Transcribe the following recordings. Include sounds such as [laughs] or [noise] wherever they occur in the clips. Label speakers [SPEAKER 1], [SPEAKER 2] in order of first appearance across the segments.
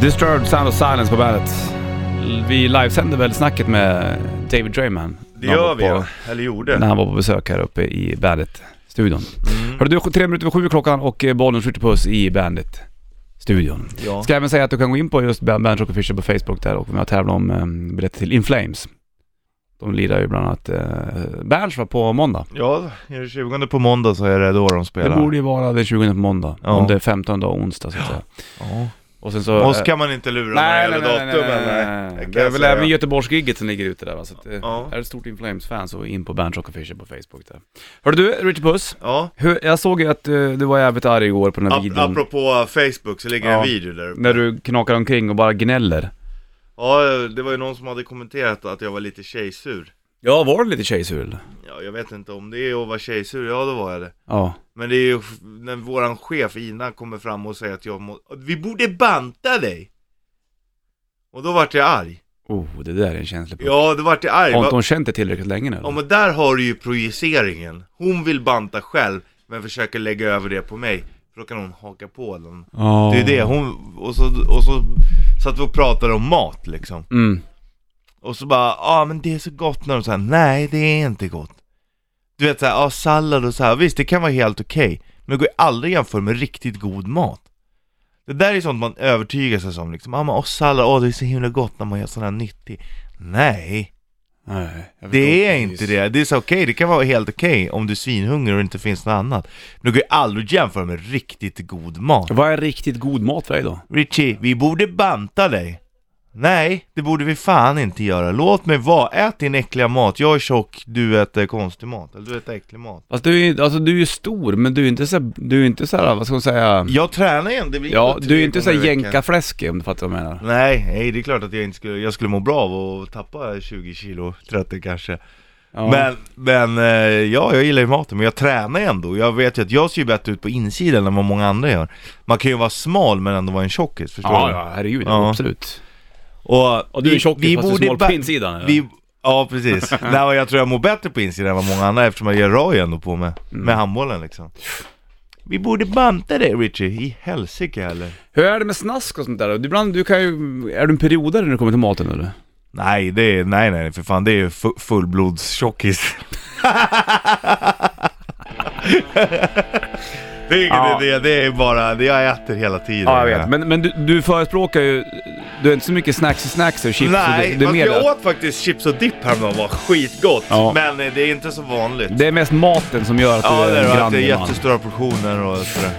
[SPEAKER 1] Disturbed Sound of Silence på bandet. Vi livesänder väl snacket med David Drayman.
[SPEAKER 2] Det
[SPEAKER 1] när han
[SPEAKER 2] gör
[SPEAKER 1] var
[SPEAKER 2] vi
[SPEAKER 1] på,
[SPEAKER 2] ja. Eller gjorde.
[SPEAKER 1] När han var på besök här uppe i Bandet-studion.
[SPEAKER 2] Mm.
[SPEAKER 1] Hörru du, tre minuter över sju är klockan och eh, bollen skjuter puss i Bandit-studion.
[SPEAKER 2] Ja.
[SPEAKER 1] Ska även säga att du kan gå in på just Bandit Rock Official på Facebook där och vi har tävlat om eh, biljetter till In Flames. De lirar ju bland annat eh, Berns var på måndag.
[SPEAKER 2] ja, är det 20 på måndag så är det då de
[SPEAKER 1] Det
[SPEAKER 2] spelar.
[SPEAKER 1] borde ju vara den 20 på måndag.
[SPEAKER 2] Ja.
[SPEAKER 1] Om det är 15 dag onsdag så att säga.
[SPEAKER 2] ja.
[SPEAKER 1] Och sen så... eh,
[SPEAKER 2] Och så kan man inte lura
[SPEAKER 1] Nej, nej,
[SPEAKER 2] några
[SPEAKER 1] nej, nej,
[SPEAKER 2] jävla datum
[SPEAKER 1] nej,
[SPEAKER 2] eller?
[SPEAKER 1] nej,
[SPEAKER 2] Det
[SPEAKER 1] nej.
[SPEAKER 2] kan
[SPEAKER 1] Det är
[SPEAKER 2] jag
[SPEAKER 1] väl
[SPEAKER 2] säga.
[SPEAKER 1] även Göteborgsgigget som ligger ute där va? Så att, eh,
[SPEAKER 2] Ja.
[SPEAKER 1] Är du ett stort In Flames-fan så in på Bernt Rock Official på Facebook där. Hörru du, Richard Puss.
[SPEAKER 2] Ja,
[SPEAKER 1] Hur, jag såg ju att eh, du var jävligt arg igår på den här
[SPEAKER 2] Ap-
[SPEAKER 1] videon.
[SPEAKER 2] apropå Facebook så ligger
[SPEAKER 1] Ja.
[SPEAKER 2] en video där uppe.
[SPEAKER 1] När du knakar omkring och bara gnäller.
[SPEAKER 2] Ja, det var ju någon som hade kommenterat att jag var lite tjejsur.
[SPEAKER 1] Ja, var du lite tjejsul?
[SPEAKER 2] Ja, jag vet inte om det är att vara tjejsur, ja då var jag det.
[SPEAKER 1] Ja.
[SPEAKER 2] Men det är ju f- när våran chef Ina kommer fram och säger att jag må... Vi borde banta dig! Och då vart jag arg.
[SPEAKER 1] Oh, det där är en känslig punkt.
[SPEAKER 2] Ja, då vart jag arg.
[SPEAKER 1] Har
[SPEAKER 2] Va-
[SPEAKER 1] inte hon känt det tillräckligt länge nu?
[SPEAKER 2] Ja
[SPEAKER 1] eller?
[SPEAKER 2] men där har du ju projiceringen. Hon vill banta själv, men försöker lägga över det på mig. För då kan hon haka på den.
[SPEAKER 1] Ja.
[SPEAKER 2] Det är ju det, hon, och så, och så satt vi och pratade om mat liksom.
[SPEAKER 1] Mm.
[SPEAKER 2] Och så bara, ja ah, men det är så gott när de säger nej det är inte gott. Du vet såhär, ja ah, sallad och så här. visst det kan vara helt okej. men det går ju aldrig att jämföra med riktigt god mat. Det där är sånt man övertygar sig om liksom, ja ah, men och sallad, åh det är så himla gott när man gör sån här nyttig. Nej.
[SPEAKER 1] Nej, jag
[SPEAKER 2] Det
[SPEAKER 1] förstår
[SPEAKER 2] är
[SPEAKER 1] precis.
[SPEAKER 2] inte det, det är så okej, det kan vara helt okej om du är svinhungrig och inte finns något annat Men du kan ju aldrig jämföra med riktigt god mat
[SPEAKER 1] Vad är riktigt god mat för dig då?
[SPEAKER 2] Richie, vi borde banta dig Nej, det borde vi fan inte göra, låt mig vara, ät din äckliga mat, jag är tjock, du äter konstig mat, eller du äter äcklig mat
[SPEAKER 1] Alltså du är ju alltså, du är stor, men du är inte så, du är inte så här, vad ska man säga?
[SPEAKER 2] Jag tränar igen, det blir
[SPEAKER 1] Ja,
[SPEAKER 2] inte
[SPEAKER 1] du
[SPEAKER 2] tre
[SPEAKER 1] är inte så
[SPEAKER 2] gånger
[SPEAKER 1] här
[SPEAKER 2] i veckan.
[SPEAKER 1] jänkarfläskig om du fattar vad jag menar.
[SPEAKER 2] Nej, nej, det är klart att jag inte skulle, jag skulle må bra av att tappa 20 kilo, 30 kanske
[SPEAKER 1] Ja.
[SPEAKER 2] Men, men eh, ja, jag gillar ju maten, men jag tränar ju ändå. Jag vet ju att jag ser ju bättre ut på insidan än vad många andra gör. Man kan ju vara smal men ändå vara en tjockis, förstår
[SPEAKER 1] ja,
[SPEAKER 2] du?
[SPEAKER 1] ja, herregud,
[SPEAKER 2] Ja.
[SPEAKER 1] absolut.
[SPEAKER 2] Och,
[SPEAKER 1] Och du är tjockis fast du är smal
[SPEAKER 2] ba-
[SPEAKER 1] på insidan eller?
[SPEAKER 2] vi, Ja,
[SPEAKER 1] [laughs]
[SPEAKER 2] precis. Nej, men jag tror jag mår bättre på insidan än vad många andra eftersom jag gör raj ändå på mig.
[SPEAKER 1] Mm.
[SPEAKER 2] Med handbollen liksom. Vi borde banta dig Richie, i helsike heller.
[SPEAKER 1] Hur är det med snask och sånt där? Du, ibland, du kan ju, är du en periodare när det kommer till maten eller?
[SPEAKER 2] Nej, det är, nej, nej, för fan det är ju fu- fullblodstjockis. [laughs] det är ingen
[SPEAKER 1] Ja.
[SPEAKER 2] idé, det är bara, det jag äter hela tiden.
[SPEAKER 1] Men, men du, du förespråkar ju, du är inte så mycket snacks och snacks och chips och
[SPEAKER 2] Nej,
[SPEAKER 1] det, det är
[SPEAKER 2] fast
[SPEAKER 1] mer
[SPEAKER 2] jag
[SPEAKER 1] det.
[SPEAKER 2] åt faktiskt chips och dipp häromdagen, var skitgott.
[SPEAKER 1] Ja.
[SPEAKER 2] Men eh, det är inte så vanligt.
[SPEAKER 1] Det är mest maten som gör att
[SPEAKER 2] Ja,
[SPEAKER 1] du
[SPEAKER 2] det
[SPEAKER 1] är en
[SPEAKER 2] är, det. att det är
[SPEAKER 1] grann eh, man.
[SPEAKER 2] jättestora portioner och sådär.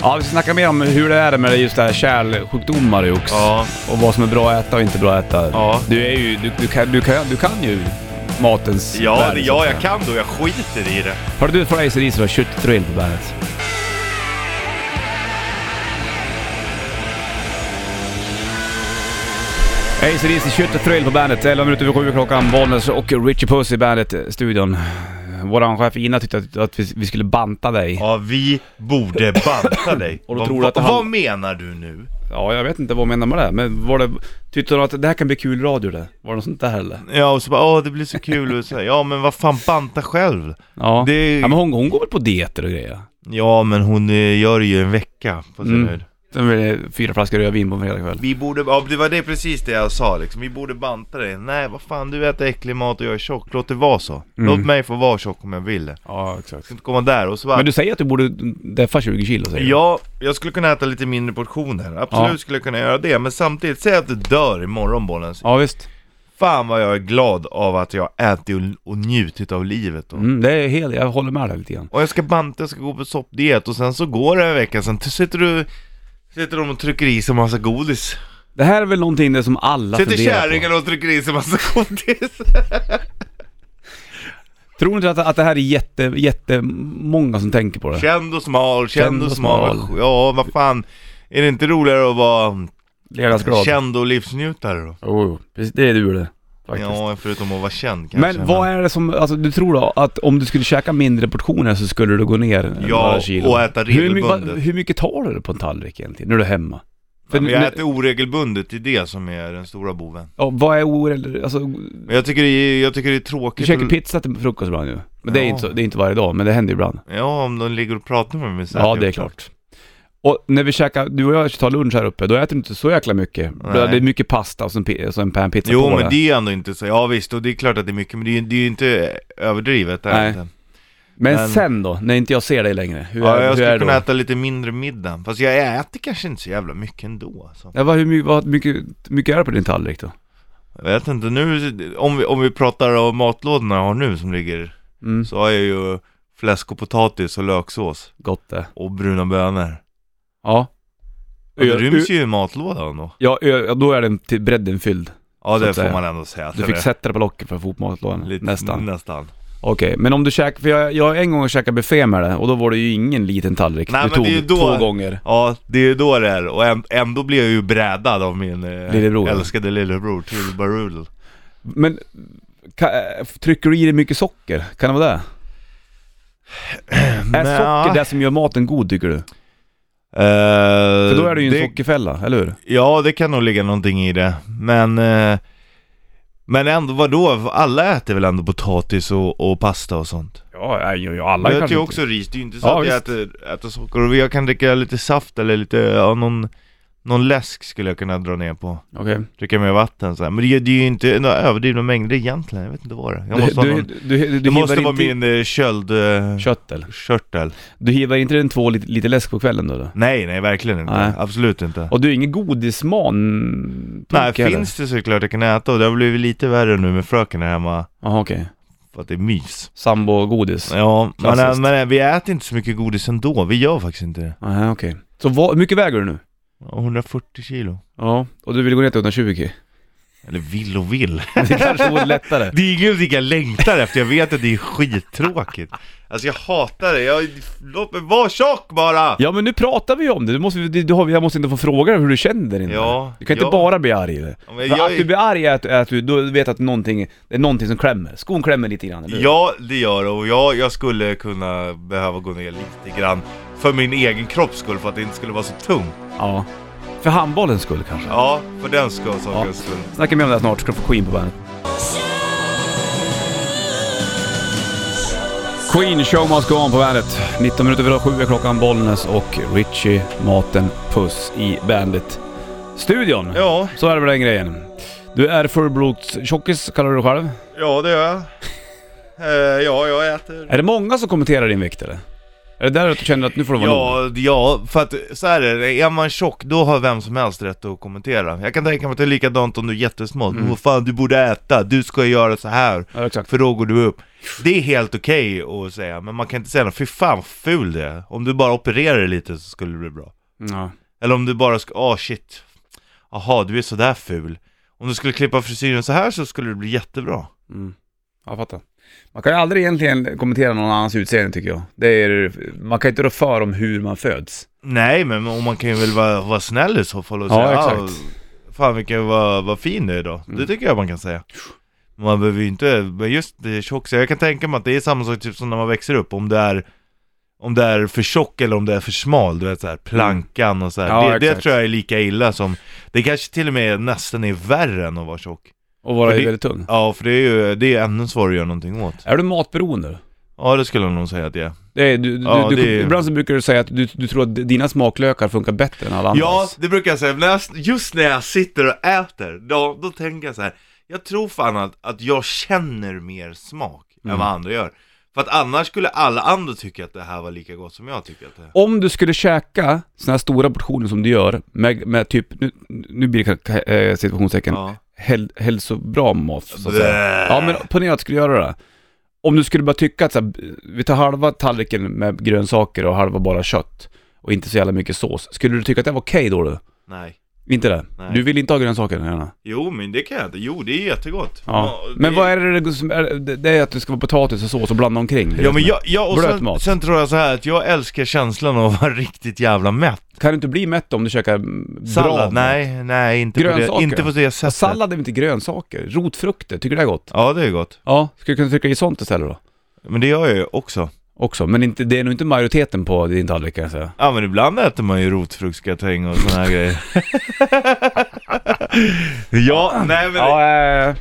[SPEAKER 1] Ja, vi ska snacka mer om hur det är med just det här kärlsjukdomar och också.
[SPEAKER 2] Ja.
[SPEAKER 1] Och vad som är bra att äta och inte bra att äta.
[SPEAKER 2] Ja.
[SPEAKER 1] Du är ju, du, du, kan, du, kan, du kan ju matens
[SPEAKER 2] Ja,
[SPEAKER 1] värld,
[SPEAKER 2] det,
[SPEAKER 1] så att
[SPEAKER 2] ja,
[SPEAKER 1] säga.
[SPEAKER 2] jag kan då, jag skiter i det.
[SPEAKER 1] Hörde du från Ace Diesel och Köttdrill på bandet? Ace Diesel, Kött och Thrill på bandet. 11 minuter över 7 klockan. Bollnäs och Richie Puss i bandet-studion. Våran chef Ina tyckte att, att vi, vi skulle banta dig. Ja.
[SPEAKER 2] Ja, vi borde banta dig.
[SPEAKER 1] [laughs] Och då
[SPEAKER 2] Vad-
[SPEAKER 1] tror du att
[SPEAKER 2] vad-
[SPEAKER 1] han-
[SPEAKER 2] Vad menar du nu?
[SPEAKER 1] jag vet inte vad hon menar med det. Men var det... Tyckte hon att det här kan bli kul radio det? Var det något sånt där eller?
[SPEAKER 2] Ja, och så bara åh det blir så kul och så här, ja men vad fan banta själv.
[SPEAKER 1] Ja.
[SPEAKER 2] Det-
[SPEAKER 1] ja men hon, hon går väl på dieter och grejer?
[SPEAKER 2] Ja men hon eh, gör det ju en vecka på sin
[SPEAKER 1] Mm.
[SPEAKER 2] höjd.
[SPEAKER 1] Sen blir det fyra flaskor rödvin på en fredagkväll.
[SPEAKER 2] Vi borde, ja det var det precis det jag sa liksom, vi borde banta dig. Nej vad fan du äter äcklig mat och jag är tjock, låt det vara
[SPEAKER 1] Mm.
[SPEAKER 2] så. Låt mig få vara tjock om jag vill det.
[SPEAKER 1] Ja, exakt.
[SPEAKER 2] Ska inte komma där och så bara,
[SPEAKER 1] Men du säger att du borde deffa 20 kilo säger du?
[SPEAKER 2] ja jag skulle kunna äta lite mindre portioner, absolut
[SPEAKER 1] Ja.
[SPEAKER 2] skulle jag kunna göra det. Men samtidigt, säg att du dör imorgon bollen.
[SPEAKER 1] Ja visst.
[SPEAKER 2] Fan vad jag är glad av att jag ätit och, och njutit av livet då.
[SPEAKER 1] Mm, det är helt, jag håller med dig lite grann.
[SPEAKER 2] Och jag ska banta, jag ska gå på soppdiet och sen så går det en vecka, sen t- sitter du Sitter de och trycker i sig massa godis
[SPEAKER 1] Det här är väl någonting det som alla
[SPEAKER 2] Sitter
[SPEAKER 1] funderar på.
[SPEAKER 2] kärringarna och trycker i sig massa [laughs] godis
[SPEAKER 1] Tror ni inte att, att det här är jätte, jättemånga som tänker på det?
[SPEAKER 2] Känd och smal,
[SPEAKER 1] Känd
[SPEAKER 2] känd
[SPEAKER 1] och
[SPEAKER 2] och smal
[SPEAKER 1] smal.
[SPEAKER 2] Ja, vad fan Är det inte roligare att vara
[SPEAKER 1] Ledarskap?
[SPEAKER 2] känd och livsnjutare då?
[SPEAKER 1] Jo, jo. precis. Det är du det. Faktiskt.
[SPEAKER 2] Ja, förutom att vara känd kanske
[SPEAKER 1] Men vad är det som, alltså du tror då att om du skulle käka mindre portioner så skulle du gå ner
[SPEAKER 2] Ja,
[SPEAKER 1] några kilo?
[SPEAKER 2] och äta
[SPEAKER 1] hur, my- vad-
[SPEAKER 2] regelbundet.
[SPEAKER 1] hur mycket tar du på en tallrik egentligen, när du är hemma? För,
[SPEAKER 2] Ja, men jag
[SPEAKER 1] när-
[SPEAKER 2] äter oregelbundet, det är det som är den stora boven
[SPEAKER 1] ja, vad är oregelbundet? Alltså,
[SPEAKER 2] Men jag tycker det är, jag tycker det är
[SPEAKER 1] du
[SPEAKER 2] tråkigt
[SPEAKER 1] käkar
[SPEAKER 2] att-
[SPEAKER 1] pizza till frukost ibland ju. Men det, är
[SPEAKER 2] Typ Ja.
[SPEAKER 1] inte så, det är inte varje dag, men det händer ju ibland.
[SPEAKER 2] Ja, om de ligger och pratar med mig så typ.
[SPEAKER 1] Ja,
[SPEAKER 2] äter
[SPEAKER 1] det är
[SPEAKER 2] jag-
[SPEAKER 1] klart. Och när vi käkar, du och jag tar lunch här uppe, då äter du inte så jäkla mycket.
[SPEAKER 2] Nej.
[SPEAKER 1] Det är mycket pasta och så en, pi- så en panpizza
[SPEAKER 2] Jo
[SPEAKER 1] på
[SPEAKER 2] men det är ju ändå inte så, ja visst och det är klart att det är mycket men det är, det är ju inte överdrivet det är
[SPEAKER 1] Nej.
[SPEAKER 2] inte.
[SPEAKER 1] men,
[SPEAKER 2] men-
[SPEAKER 1] sen då, när inte jag ser dig längre, hur
[SPEAKER 2] Ja,
[SPEAKER 1] är,
[SPEAKER 2] jag
[SPEAKER 1] hur är
[SPEAKER 2] skulle
[SPEAKER 1] det då?
[SPEAKER 2] kunna äta lite mindre middag, fast jag äter kanske inte så jävla mycket ändå alltså.
[SPEAKER 1] Ja, vad, hur my- vad mycket, mycket är det på din tallrik då?
[SPEAKER 2] Jag vet inte, nu om vi, om vi pratar om matlådorna jag har nu som ligger
[SPEAKER 1] Mm,
[SPEAKER 2] Så har jag ju fläsk och potatis och löksås
[SPEAKER 1] gott det.
[SPEAKER 2] och bruna bönor
[SPEAKER 1] Ja.
[SPEAKER 2] Ja, Det ryms ju i matlådan då
[SPEAKER 1] Ja, ö- ja, då är den till bredden fylld.
[SPEAKER 2] Ja
[SPEAKER 1] Så
[SPEAKER 2] det
[SPEAKER 1] att säga.
[SPEAKER 2] får man ändå säga att
[SPEAKER 1] Du
[SPEAKER 2] det
[SPEAKER 1] fick
[SPEAKER 2] är.
[SPEAKER 1] sätta dig på locket för att få upp matlådan.
[SPEAKER 2] Lite- mm.
[SPEAKER 1] Nästan.
[SPEAKER 2] Nästan
[SPEAKER 1] Okej, men om du käkar, för jag, jag har en gång käkat buffé med det och då var det ju ingen liten tallrik.
[SPEAKER 2] Nej,
[SPEAKER 1] du
[SPEAKER 2] men
[SPEAKER 1] tog
[SPEAKER 2] det är ju då-
[SPEAKER 1] två gånger.
[SPEAKER 2] Ja, det är ju då det är och äm- ändå blir jag ju brädad av min eh,
[SPEAKER 1] Lillebror.
[SPEAKER 2] älskade lillebror till Barul
[SPEAKER 1] Men ka, äh, trycker du i dig mycket socker? Kan det vara
[SPEAKER 2] [clears throat]
[SPEAKER 1] det? Är socker det som gör maten god tycker du? För då är det ju en sockerfälla, eller hur?
[SPEAKER 2] Eh, Ja, det kan nog ligga någonting i det. Men, eh, men ändå, vadå? Alla äter väl ändå potatis och, och pasta och sånt?
[SPEAKER 1] Ja, ja alla
[SPEAKER 2] jag äter ju också ris, det är ju inte så
[SPEAKER 1] Ja,
[SPEAKER 2] att jag
[SPEAKER 1] visst.
[SPEAKER 2] äter, äter socker. Och jag kan dricka lite saft eller lite, ja, någon, någon läsk skulle jag kunna dra ner på.
[SPEAKER 1] Okej.
[SPEAKER 2] Dricka mer vatten så här. Men det, det är ju inte några överdrivna mängder egentligen, jag vet inte vad det är. Jag måste, ha
[SPEAKER 1] Du,
[SPEAKER 2] någon,
[SPEAKER 1] du, du, du,
[SPEAKER 2] det måste
[SPEAKER 1] hivar
[SPEAKER 2] vara
[SPEAKER 1] inte i-
[SPEAKER 2] min eh, köld... Eh,
[SPEAKER 1] Köttel.
[SPEAKER 2] körtel.
[SPEAKER 1] Du hivar inte den två lite, lite läsk på kvällen då? då?
[SPEAKER 2] Nej, nej verkligen inte.
[SPEAKER 1] Nej.
[SPEAKER 2] Absolut inte.
[SPEAKER 1] Och du är ingen godisman?
[SPEAKER 2] Nej, finns det såklart jag kan äta och det har blivit lite värre nu med fröken här hemma.
[SPEAKER 1] Jaha okej.
[SPEAKER 2] För att det är mys.
[SPEAKER 1] Sambo-godis?
[SPEAKER 2] Ja,
[SPEAKER 1] Klassiskt.
[SPEAKER 2] men, men vi äter inte så mycket godis ändå. Vi gör faktiskt inte det.
[SPEAKER 1] Nej, okej. Så vad, hur mycket väger du nu?
[SPEAKER 2] Ja, 140 kilo.
[SPEAKER 1] Ja, och du vill gå ner till 120?
[SPEAKER 2] Eller vill och vill.
[SPEAKER 1] [laughs]
[SPEAKER 2] [laughs]
[SPEAKER 1] Det kanske vore lättare.
[SPEAKER 2] Det är ingenting jag längtar efter. Jag vet att det är skittråkigt. Alltså jag hatar det. Jag, låt mig vara tjock bara!
[SPEAKER 1] Ja men nu pratar vi ju om det, du måste, du, du, har- jag måste inte få fråga dig hur du känner dig innan.
[SPEAKER 2] Ja,
[SPEAKER 1] Du kan inte
[SPEAKER 2] ja.
[SPEAKER 1] bara bli arg i det.
[SPEAKER 2] Ja,
[SPEAKER 1] För
[SPEAKER 2] men jag
[SPEAKER 1] Att
[SPEAKER 2] är-
[SPEAKER 1] du blir arg är att, är att du, du vet att någonting, det är någonting som klämmer, skon klämmer lite grann eller hur?
[SPEAKER 2] Ja, det gör det. Och jag, jag skulle kunna behöva gå ner lite grann. För min egen kropps skull, för att det inte skulle vara så tungt.
[SPEAKER 1] ja. För handbollens skull kanske?
[SPEAKER 2] Ja, för den skull,
[SPEAKER 1] Ja.
[SPEAKER 2] sakens skull.
[SPEAKER 1] Snacka mer om det här snart, ska du få Queen på bandet. Queen Show Must Go On på bandet. 19 minuter över 7 är klockan, Bollnäs och Richie Maten Puss i bandet-studion.
[SPEAKER 2] Ja,
[SPEAKER 1] Så är det väl den grejen. Du är fullblodstjockis, kallar du dig själv.
[SPEAKER 2] ja det gör jag. Eh, ja, jag äter.
[SPEAKER 1] Är det många som kommenterar din vikt eller? Är det där att du känner att nu får det vara nog?
[SPEAKER 2] Ja, ja, för att så här är det, är man tjock då har vem som helst rätt att kommentera Jag kan tänka mig att det är likadant om du är jättesmal,
[SPEAKER 1] Mm.
[SPEAKER 2] Åh fan du borde äta, du ska göra så här
[SPEAKER 1] Ja, exakt.
[SPEAKER 2] för då går du upp Det är helt okej att säga, men man kan inte säga något, fy fan vad ful det är Om du bara opererar dig lite så skulle det bli bra
[SPEAKER 1] Ja.
[SPEAKER 2] Eller om du bara ska, ah shit, aha du är sådär ful Om du skulle klippa frisyren så här så skulle det bli jättebra
[SPEAKER 1] Mm. Jag fattar. Man kan ju aldrig egentligen kommentera någon annans utseende tycker jag. Det är, man kan ju inte rå för om hur man föds.
[SPEAKER 2] Nej men om man kan ju väl vara, vara snäll i så fall och
[SPEAKER 1] Ja,
[SPEAKER 2] säga
[SPEAKER 1] exakt. Mm.
[SPEAKER 2] "Ah, Fan vilken vad, vad fin du är idag, det tycker jag man kan säga Man behöver ju inte, men just det är tjock, så jag kan tänka mig att det är samma sak typ som när man växer upp Om det är, om det är för tjock eller om det är för smal, du vet såhär plankan och såhär
[SPEAKER 1] Mm. Ja,
[SPEAKER 2] det, det
[SPEAKER 1] exakt.
[SPEAKER 2] tror jag är lika illa som, det kanske till och med nästan är värre än att vara tjock
[SPEAKER 1] Och vara
[SPEAKER 2] För det-
[SPEAKER 1] väldigt tung.
[SPEAKER 2] Ja för det är ju, det är ännu svårare att göra någonting åt
[SPEAKER 1] Är du matberoende?
[SPEAKER 2] Ja det skulle jag nog säga att jag är
[SPEAKER 1] Det är, du,
[SPEAKER 2] Ja,
[SPEAKER 1] du, du,
[SPEAKER 2] det är-
[SPEAKER 1] Ibland så brukar du säga att du, du tror att dina smaklökar funkar bättre än alla
[SPEAKER 2] Ja,
[SPEAKER 1] andras.
[SPEAKER 2] det brukar jag säga. När jag, just när jag sitter och äter, då, då tänker jag så här. Jag tror fan att, att jag känner mer smak än
[SPEAKER 1] Mm.
[SPEAKER 2] vad andra gör. För att annars skulle alla andra tycka att det här var lika gott som jag tycker att det är.
[SPEAKER 1] Om du skulle käka såna här stora portioner som du gör med, med typ, nu, nu blir det ka- eh, situationstecken,
[SPEAKER 2] Ja.
[SPEAKER 1] häl, hälsobra mat så att säga.
[SPEAKER 2] Blä.
[SPEAKER 1] Ja men ponera att du skulle göra det. Om du skulle bara tycka att så här, vi tar halva tallriken med grönsaker och halva bara kött och inte så jävla mycket sås. Skulle du tycka att det var okej då du?
[SPEAKER 2] Nej.
[SPEAKER 1] Inte det?
[SPEAKER 2] Nej.
[SPEAKER 1] Du vill inte ha grönsaker gärna?
[SPEAKER 2] Jo, men det kan jag inte. Jo, det är jättegott.
[SPEAKER 1] Ja.
[SPEAKER 2] det-
[SPEAKER 1] Men vad är det som är, det- det är att det ska vara potatis och sås och blanda omkring? det är
[SPEAKER 2] Ja
[SPEAKER 1] det
[SPEAKER 2] men
[SPEAKER 1] som är.
[SPEAKER 2] jag, jag och
[SPEAKER 1] Blöt
[SPEAKER 2] sen,
[SPEAKER 1] mat.
[SPEAKER 2] sen tror jag så här att jag älskar känslan av att vara [laughs] riktigt jävla mätt.
[SPEAKER 1] Kan du inte bli mätt om du käkar mm, bra
[SPEAKER 2] Sallad,
[SPEAKER 1] mat?
[SPEAKER 2] nej, nej inte på
[SPEAKER 1] Grönsaker.
[SPEAKER 2] det, inte på det sättet.
[SPEAKER 1] Sallad är väl inte grönsaker? Rotfrukter, tycker du det är gott?
[SPEAKER 2] Ja det är gott.
[SPEAKER 1] Ja, skulle du kunna trycka i sånt istället då?
[SPEAKER 2] Men det gör jag ju också.
[SPEAKER 1] Också, men inte, det är nog inte majoriteten på din tallrik kan jag säga.
[SPEAKER 2] Ja men ibland äter man ju rotfruktsgratäng och såna
[SPEAKER 1] [laughs]
[SPEAKER 2] här grejer Ja, nej men... Ja,
[SPEAKER 1] Ja, eh,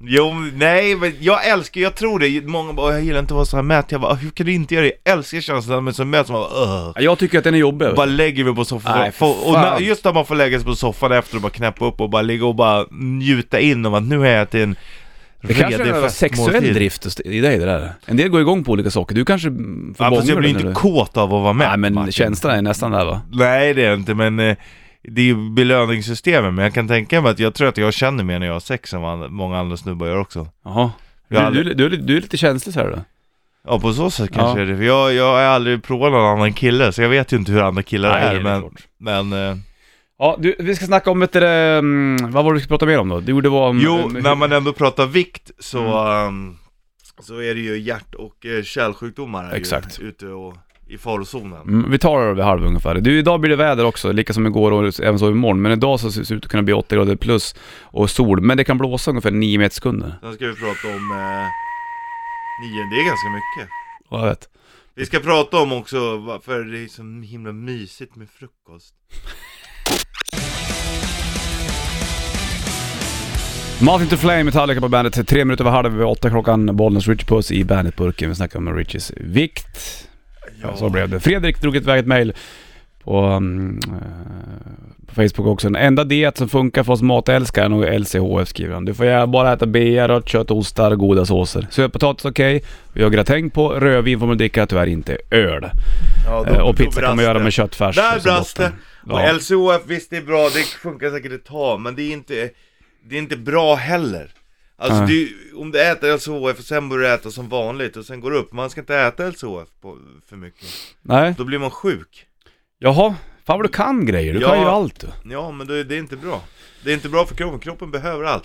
[SPEAKER 2] Jo, men- nej, men jag älskar, jag tror det. Många bara, "Åh, jag gillar inte att vara så här mätt. Jag bara, hur kan du inte göra det? Jag älskar känslan men som mätt som bara, "Ugh."
[SPEAKER 1] Jag tycker att den är jobbig.
[SPEAKER 2] Bara lägger mig på soffan.
[SPEAKER 1] Nej, för
[SPEAKER 2] och
[SPEAKER 1] fan.
[SPEAKER 2] när, just när man får lägga sig på soffan efter och bara knäppa upp och bara ligga och bara njuta in av att nu har jag ätit en
[SPEAKER 1] det kanske är en sexuell
[SPEAKER 2] festmåltid.
[SPEAKER 1] drift i dig det där. En del går igång på olika saker. Du kanske mm, får
[SPEAKER 2] Ja, fast jag
[SPEAKER 1] bångar
[SPEAKER 2] blir
[SPEAKER 1] när
[SPEAKER 2] inte
[SPEAKER 1] du-
[SPEAKER 2] kåt av att vara med.
[SPEAKER 1] Nej men
[SPEAKER 2] Martin.
[SPEAKER 1] känslan är nästan där va?
[SPEAKER 2] Nej det är jag inte men eh, det är ju belöningssystemet men jag kan tänka mig att jag tror att jag känner mer när jag har sex än vad många andra snubbar gör också.
[SPEAKER 1] Jaha.
[SPEAKER 2] Jag har
[SPEAKER 1] Du,
[SPEAKER 2] aldrig-
[SPEAKER 1] du, du, är lite- du är lite känslig så här då?
[SPEAKER 2] Ja på så sätt
[SPEAKER 1] Ja.
[SPEAKER 2] kanske det är det, för jag, jag har aldrig provat någon annan kille så jag vet ju inte hur andra killar är,
[SPEAKER 1] det är
[SPEAKER 2] men,
[SPEAKER 1] klart.
[SPEAKER 2] men eh,
[SPEAKER 1] Ja, du, vi ska snacka om vet du, det, mm, vad var det vi skulle prata mer om då? Jo, det var om... mm,
[SPEAKER 2] jo,
[SPEAKER 1] om-
[SPEAKER 2] när man ändå pratar vikt så,
[SPEAKER 1] Mm.
[SPEAKER 2] ehm, så är det ju hjärt och eh, kärlsjukdomar är
[SPEAKER 1] Exakt.
[SPEAKER 2] Ju, ute och i farozonen.
[SPEAKER 1] Mm, vi tar det vid halv ungefär. Du, idag blir det väder också, lika som igår och även så imorgon. Men idag så ser det ut att kunna bli 80 grader plus och sol. Men det kan blåsa ungefär 9 meter sekunder.
[SPEAKER 2] Sen ska vi prata om eh, nio, det är ganska mycket.
[SPEAKER 1] Ja, jag vet.
[SPEAKER 2] Vi ska prata om också varför det är så himla mysigt med frukost.
[SPEAKER 1] Martin to Flame, Metallica på bandet. Tre minuter över halv, över åtta klockan. Bollnäs Richie Puss i bandetburken. Vi snackar om Richies vikt. Ja. Så blev det. Fredrik drog iväg ett mejl på, mm, eh, på Facebook också. Den enda diet som funkar för oss matälskare är nog LCHF skriver han. Du får gärna bara äta bea, rött kött, ostar och goda såser. Sötpotatis okej, vi har gratäng på, rödvin får man dricka, tyvärr inte öl.
[SPEAKER 2] Ja,
[SPEAKER 1] Eh, och pizza kan man göra med köttfärs.
[SPEAKER 2] Där
[SPEAKER 1] och så
[SPEAKER 2] brast det!
[SPEAKER 1] botten.
[SPEAKER 2] Och
[SPEAKER 1] Ja.
[SPEAKER 2] LCHF, visst det är bra, det funkar säkert ett tag, men det är inte, det är inte bra heller. Alltså
[SPEAKER 1] Nej.
[SPEAKER 2] det, är- om du äter LCHF och sen börjar du äta som vanligt och sen går du upp, man ska inte äta LCHF på, för mycket.
[SPEAKER 1] Nej,
[SPEAKER 2] Då blir man sjuk.
[SPEAKER 1] jaha. Fan vad du kan grejer, du
[SPEAKER 2] Ja.
[SPEAKER 1] kan ju allt du.
[SPEAKER 2] Ja, men då är det inte bra. Det är inte bra för kroppen, kroppen behöver allt.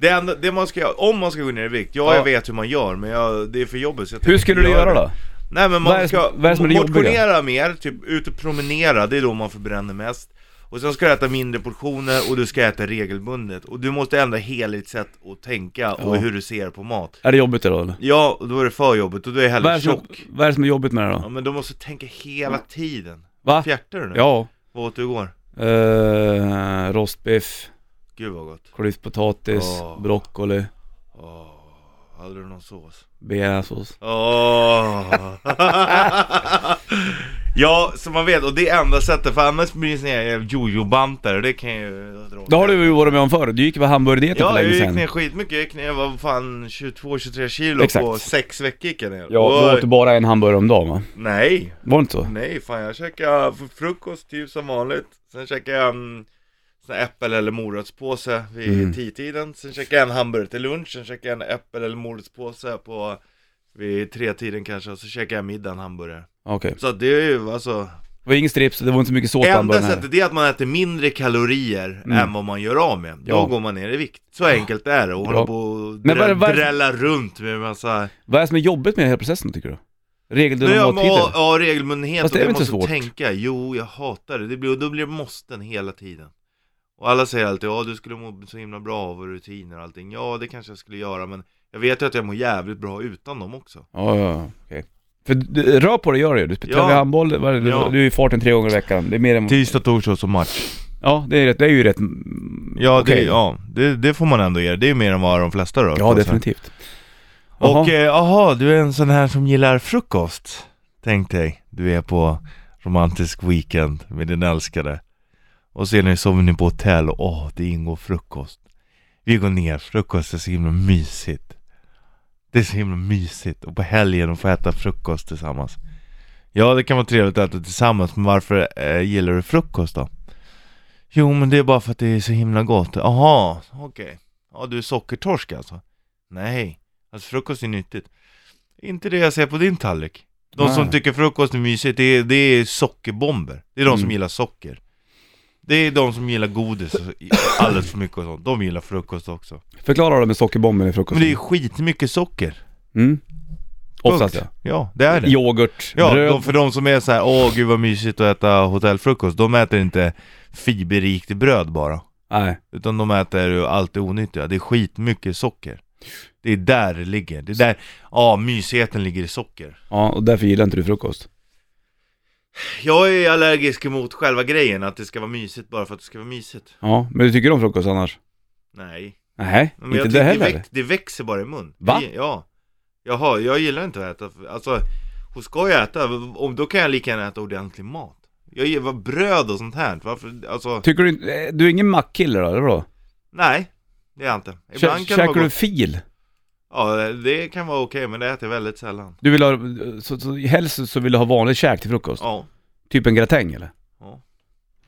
[SPEAKER 2] Det enda, det man ska göra, om man ska gå ner i vikt, ja,
[SPEAKER 1] Ja.
[SPEAKER 2] jag vet hur man gör, men jag, det är för jobbigt så jag
[SPEAKER 1] Hur
[SPEAKER 2] tänker
[SPEAKER 1] skulle
[SPEAKER 2] inte
[SPEAKER 1] du göra då?
[SPEAKER 2] Nej men
[SPEAKER 1] Vad är
[SPEAKER 2] man
[SPEAKER 1] det
[SPEAKER 2] ska
[SPEAKER 1] som- vad är det som är det jobbiga?
[SPEAKER 2] motionera mer, typ ut och promenera, det är då man förbränner mest. Och sen ska du äta mindre portioner och du ska äta regelbundet. Och du måste ändra helhetssätt att tänka och
[SPEAKER 1] Ja.
[SPEAKER 2] hur du ser på mat.
[SPEAKER 1] Är det jobbigt idag eller?
[SPEAKER 2] Ja, och då är det för jobbigt och då är jag
[SPEAKER 1] Vad är,
[SPEAKER 2] hellre
[SPEAKER 1] det som,
[SPEAKER 2] tjock.
[SPEAKER 1] vad är det som är jobbigt med det då?
[SPEAKER 2] Ja men du måste tänka hela tiden.
[SPEAKER 1] Va?
[SPEAKER 2] Fjärtar du nu?
[SPEAKER 1] Ja.
[SPEAKER 2] Vad åt du igår?
[SPEAKER 1] Uh, rostbiff.
[SPEAKER 2] Gud vad gott.
[SPEAKER 1] Klyftpotatis,
[SPEAKER 2] Ja.
[SPEAKER 1] broccoli,
[SPEAKER 2] Åh, hade du någon sås?
[SPEAKER 1] bearnaisesås.
[SPEAKER 2] Åh. [laughs] ja, som man vet, och det är enda sättet för annars blir det sån här jojo-bantare och det kan ju dra
[SPEAKER 1] Det har du ju varit med om förr, du gick på hamburgerdieten för
[SPEAKER 2] Ja, jag
[SPEAKER 1] länge
[SPEAKER 2] gick ner
[SPEAKER 1] sedan.
[SPEAKER 2] skitmycket, jag gick ner vad fan 22-23 kilo
[SPEAKER 1] Exakt.
[SPEAKER 2] på sex veckor gick jag ner
[SPEAKER 1] Ja,
[SPEAKER 2] Oj.
[SPEAKER 1] du åt bara en hamburgare om dagen va?
[SPEAKER 2] Nej,
[SPEAKER 1] Var det inte så?
[SPEAKER 2] nej fan jag käkade för frukost typ som vanligt Sen käkade jag en sån här äppel eller morotspåse vid
[SPEAKER 1] Mm.
[SPEAKER 2] tiden Sen käkade jag en hamburgare till lunch, sen käkade jag en äppel eller morotspåse på vid tretiden kanske och så käkade jag middag en hamburgare
[SPEAKER 1] Okej.
[SPEAKER 2] Så att det är ju alltså
[SPEAKER 1] Det var ingen strips, det var inte så mycket sås på
[SPEAKER 2] Enda
[SPEAKER 1] hamburgaren heller.
[SPEAKER 2] sättet är att man äter mindre kalorier
[SPEAKER 1] Mm.
[SPEAKER 2] än vad man gör av med. Då
[SPEAKER 1] Ja.
[SPEAKER 2] går man ner i vikt. Så enkelt är det. Och
[SPEAKER 1] Bra.
[SPEAKER 2] hålla på och
[SPEAKER 1] Men vad är det-
[SPEAKER 2] drä-
[SPEAKER 1] vad är det-
[SPEAKER 2] drälla runt med massa...
[SPEAKER 1] Vad är det som är jobbigt med hela processen tycker du?
[SPEAKER 2] Nu
[SPEAKER 1] Regelbundna
[SPEAKER 2] ja, men, ja,
[SPEAKER 1] måltider?
[SPEAKER 2] ja, regelbundenhet och
[SPEAKER 1] Fast det är
[SPEAKER 2] du
[SPEAKER 1] väl inte svårt?
[SPEAKER 2] måste tänka. Jo, jag hatar det. det blir, och då blir det måsten hela tiden. Och alla säger alltid ja du skulle må så himla bra av rutiner och allting. Ja, det kanske jag skulle göra, men jag vet ju att jag mår jävligt bra utan dem också.
[SPEAKER 1] Ja, ja, ja. okej. För du- rör på dig gör du ju. Du spelar
[SPEAKER 2] Ja.
[SPEAKER 1] handboll, vad är det?
[SPEAKER 2] Ja.
[SPEAKER 1] du är i farten tre gånger i veckan. Det är mer än...
[SPEAKER 2] Tisdag, torsdag och så match.
[SPEAKER 1] Ja, det är, rätt, det är ju rätt... mm,
[SPEAKER 2] Ja, det,
[SPEAKER 1] okej.
[SPEAKER 2] ja det, det får man ändå ge Det är mer än vad de flesta rör
[SPEAKER 1] ja
[SPEAKER 2] på sig.
[SPEAKER 1] definitivt.
[SPEAKER 2] alltså. Och
[SPEAKER 1] Jaha.
[SPEAKER 2] eh, aha, du är en sån här som gillar frukost. Tänk dig, du är på romantisk weekend med din älskade. Och sen sover ni på hotell och åh, det ingår frukost. Vi går ner, frukost är så himla mysigt. Det är så himla mysigt och på helgen och få äta frukost tillsammans. Ja, det kan vara trevligt att äta tillsammans, men varför eh, gillar du frukost då? Jo, men det är bara för att det är så himla gott. Aha, okej. Ja, du är sockertorsk alltså? Nej. Alltså frukost är nyttigt. Inte det jag ser på din tallrik. De
[SPEAKER 1] Nej.
[SPEAKER 2] som tycker frukost är mysigt, det är, det är sockerbomber. Det är de som
[SPEAKER 1] Mm.
[SPEAKER 2] gillar socker. Det är de som gillar godis och alldeles för mycket och sånt. De gillar frukost också.
[SPEAKER 1] Förklara det med sockerbomben i
[SPEAKER 2] Men
[SPEAKER 1] frukosten.
[SPEAKER 2] det är skitmycket socker.
[SPEAKER 1] Mm. Oftast ja.
[SPEAKER 2] Punkt. Ja, det är det.
[SPEAKER 1] Yoghurt,
[SPEAKER 2] Ja,
[SPEAKER 1] bröd.
[SPEAKER 2] de, för de som är så här, åh gud vad mysigt att äta hotellfrukost, de äter inte fiberrikt bröd bara.
[SPEAKER 1] Nej.
[SPEAKER 2] Utan de äter ju allt det onyttiga, det är skitmycket socker. Det är där det ligger, det är där, ja mysigheten ligger i socker.
[SPEAKER 1] Ja, och därför gillar inte du frukost.
[SPEAKER 2] Jag är allergisk emot själva grejen, att det ska vara mysigt bara för att det ska vara mysigt.
[SPEAKER 1] Ja, men du tycker om frukost annars?
[SPEAKER 2] Nej,
[SPEAKER 1] Nej,
[SPEAKER 2] Men
[SPEAKER 1] inte
[SPEAKER 2] jag
[SPEAKER 1] det
[SPEAKER 2] tycker
[SPEAKER 1] heller.
[SPEAKER 2] Det, väx, det växer bara i mun.
[SPEAKER 1] Va?
[SPEAKER 2] Det- Ja. Jaha, jag gillar inte att äta. Alltså, hon ska ju äta. Om, då kan jag lika gärna äta ordentlig mat. Jag gillar bröd och sånt här. Varför? Alltså,
[SPEAKER 1] Tycker du inte- eh, du är ingen mackkille då, eller vadå?
[SPEAKER 2] nej. Det är jag inte.
[SPEAKER 1] Kä-
[SPEAKER 2] Ibland kan det
[SPEAKER 1] Käkar
[SPEAKER 2] vara
[SPEAKER 1] du
[SPEAKER 2] gott.
[SPEAKER 1] fil?
[SPEAKER 2] Ja, det kan vara okej, men det äter jag väldigt sällan.
[SPEAKER 1] Du vill ha, så, så, helst så vill du ha vanlig käk till frukost?
[SPEAKER 2] Ja.
[SPEAKER 1] Typ en gratäng eller?
[SPEAKER 2] Ja.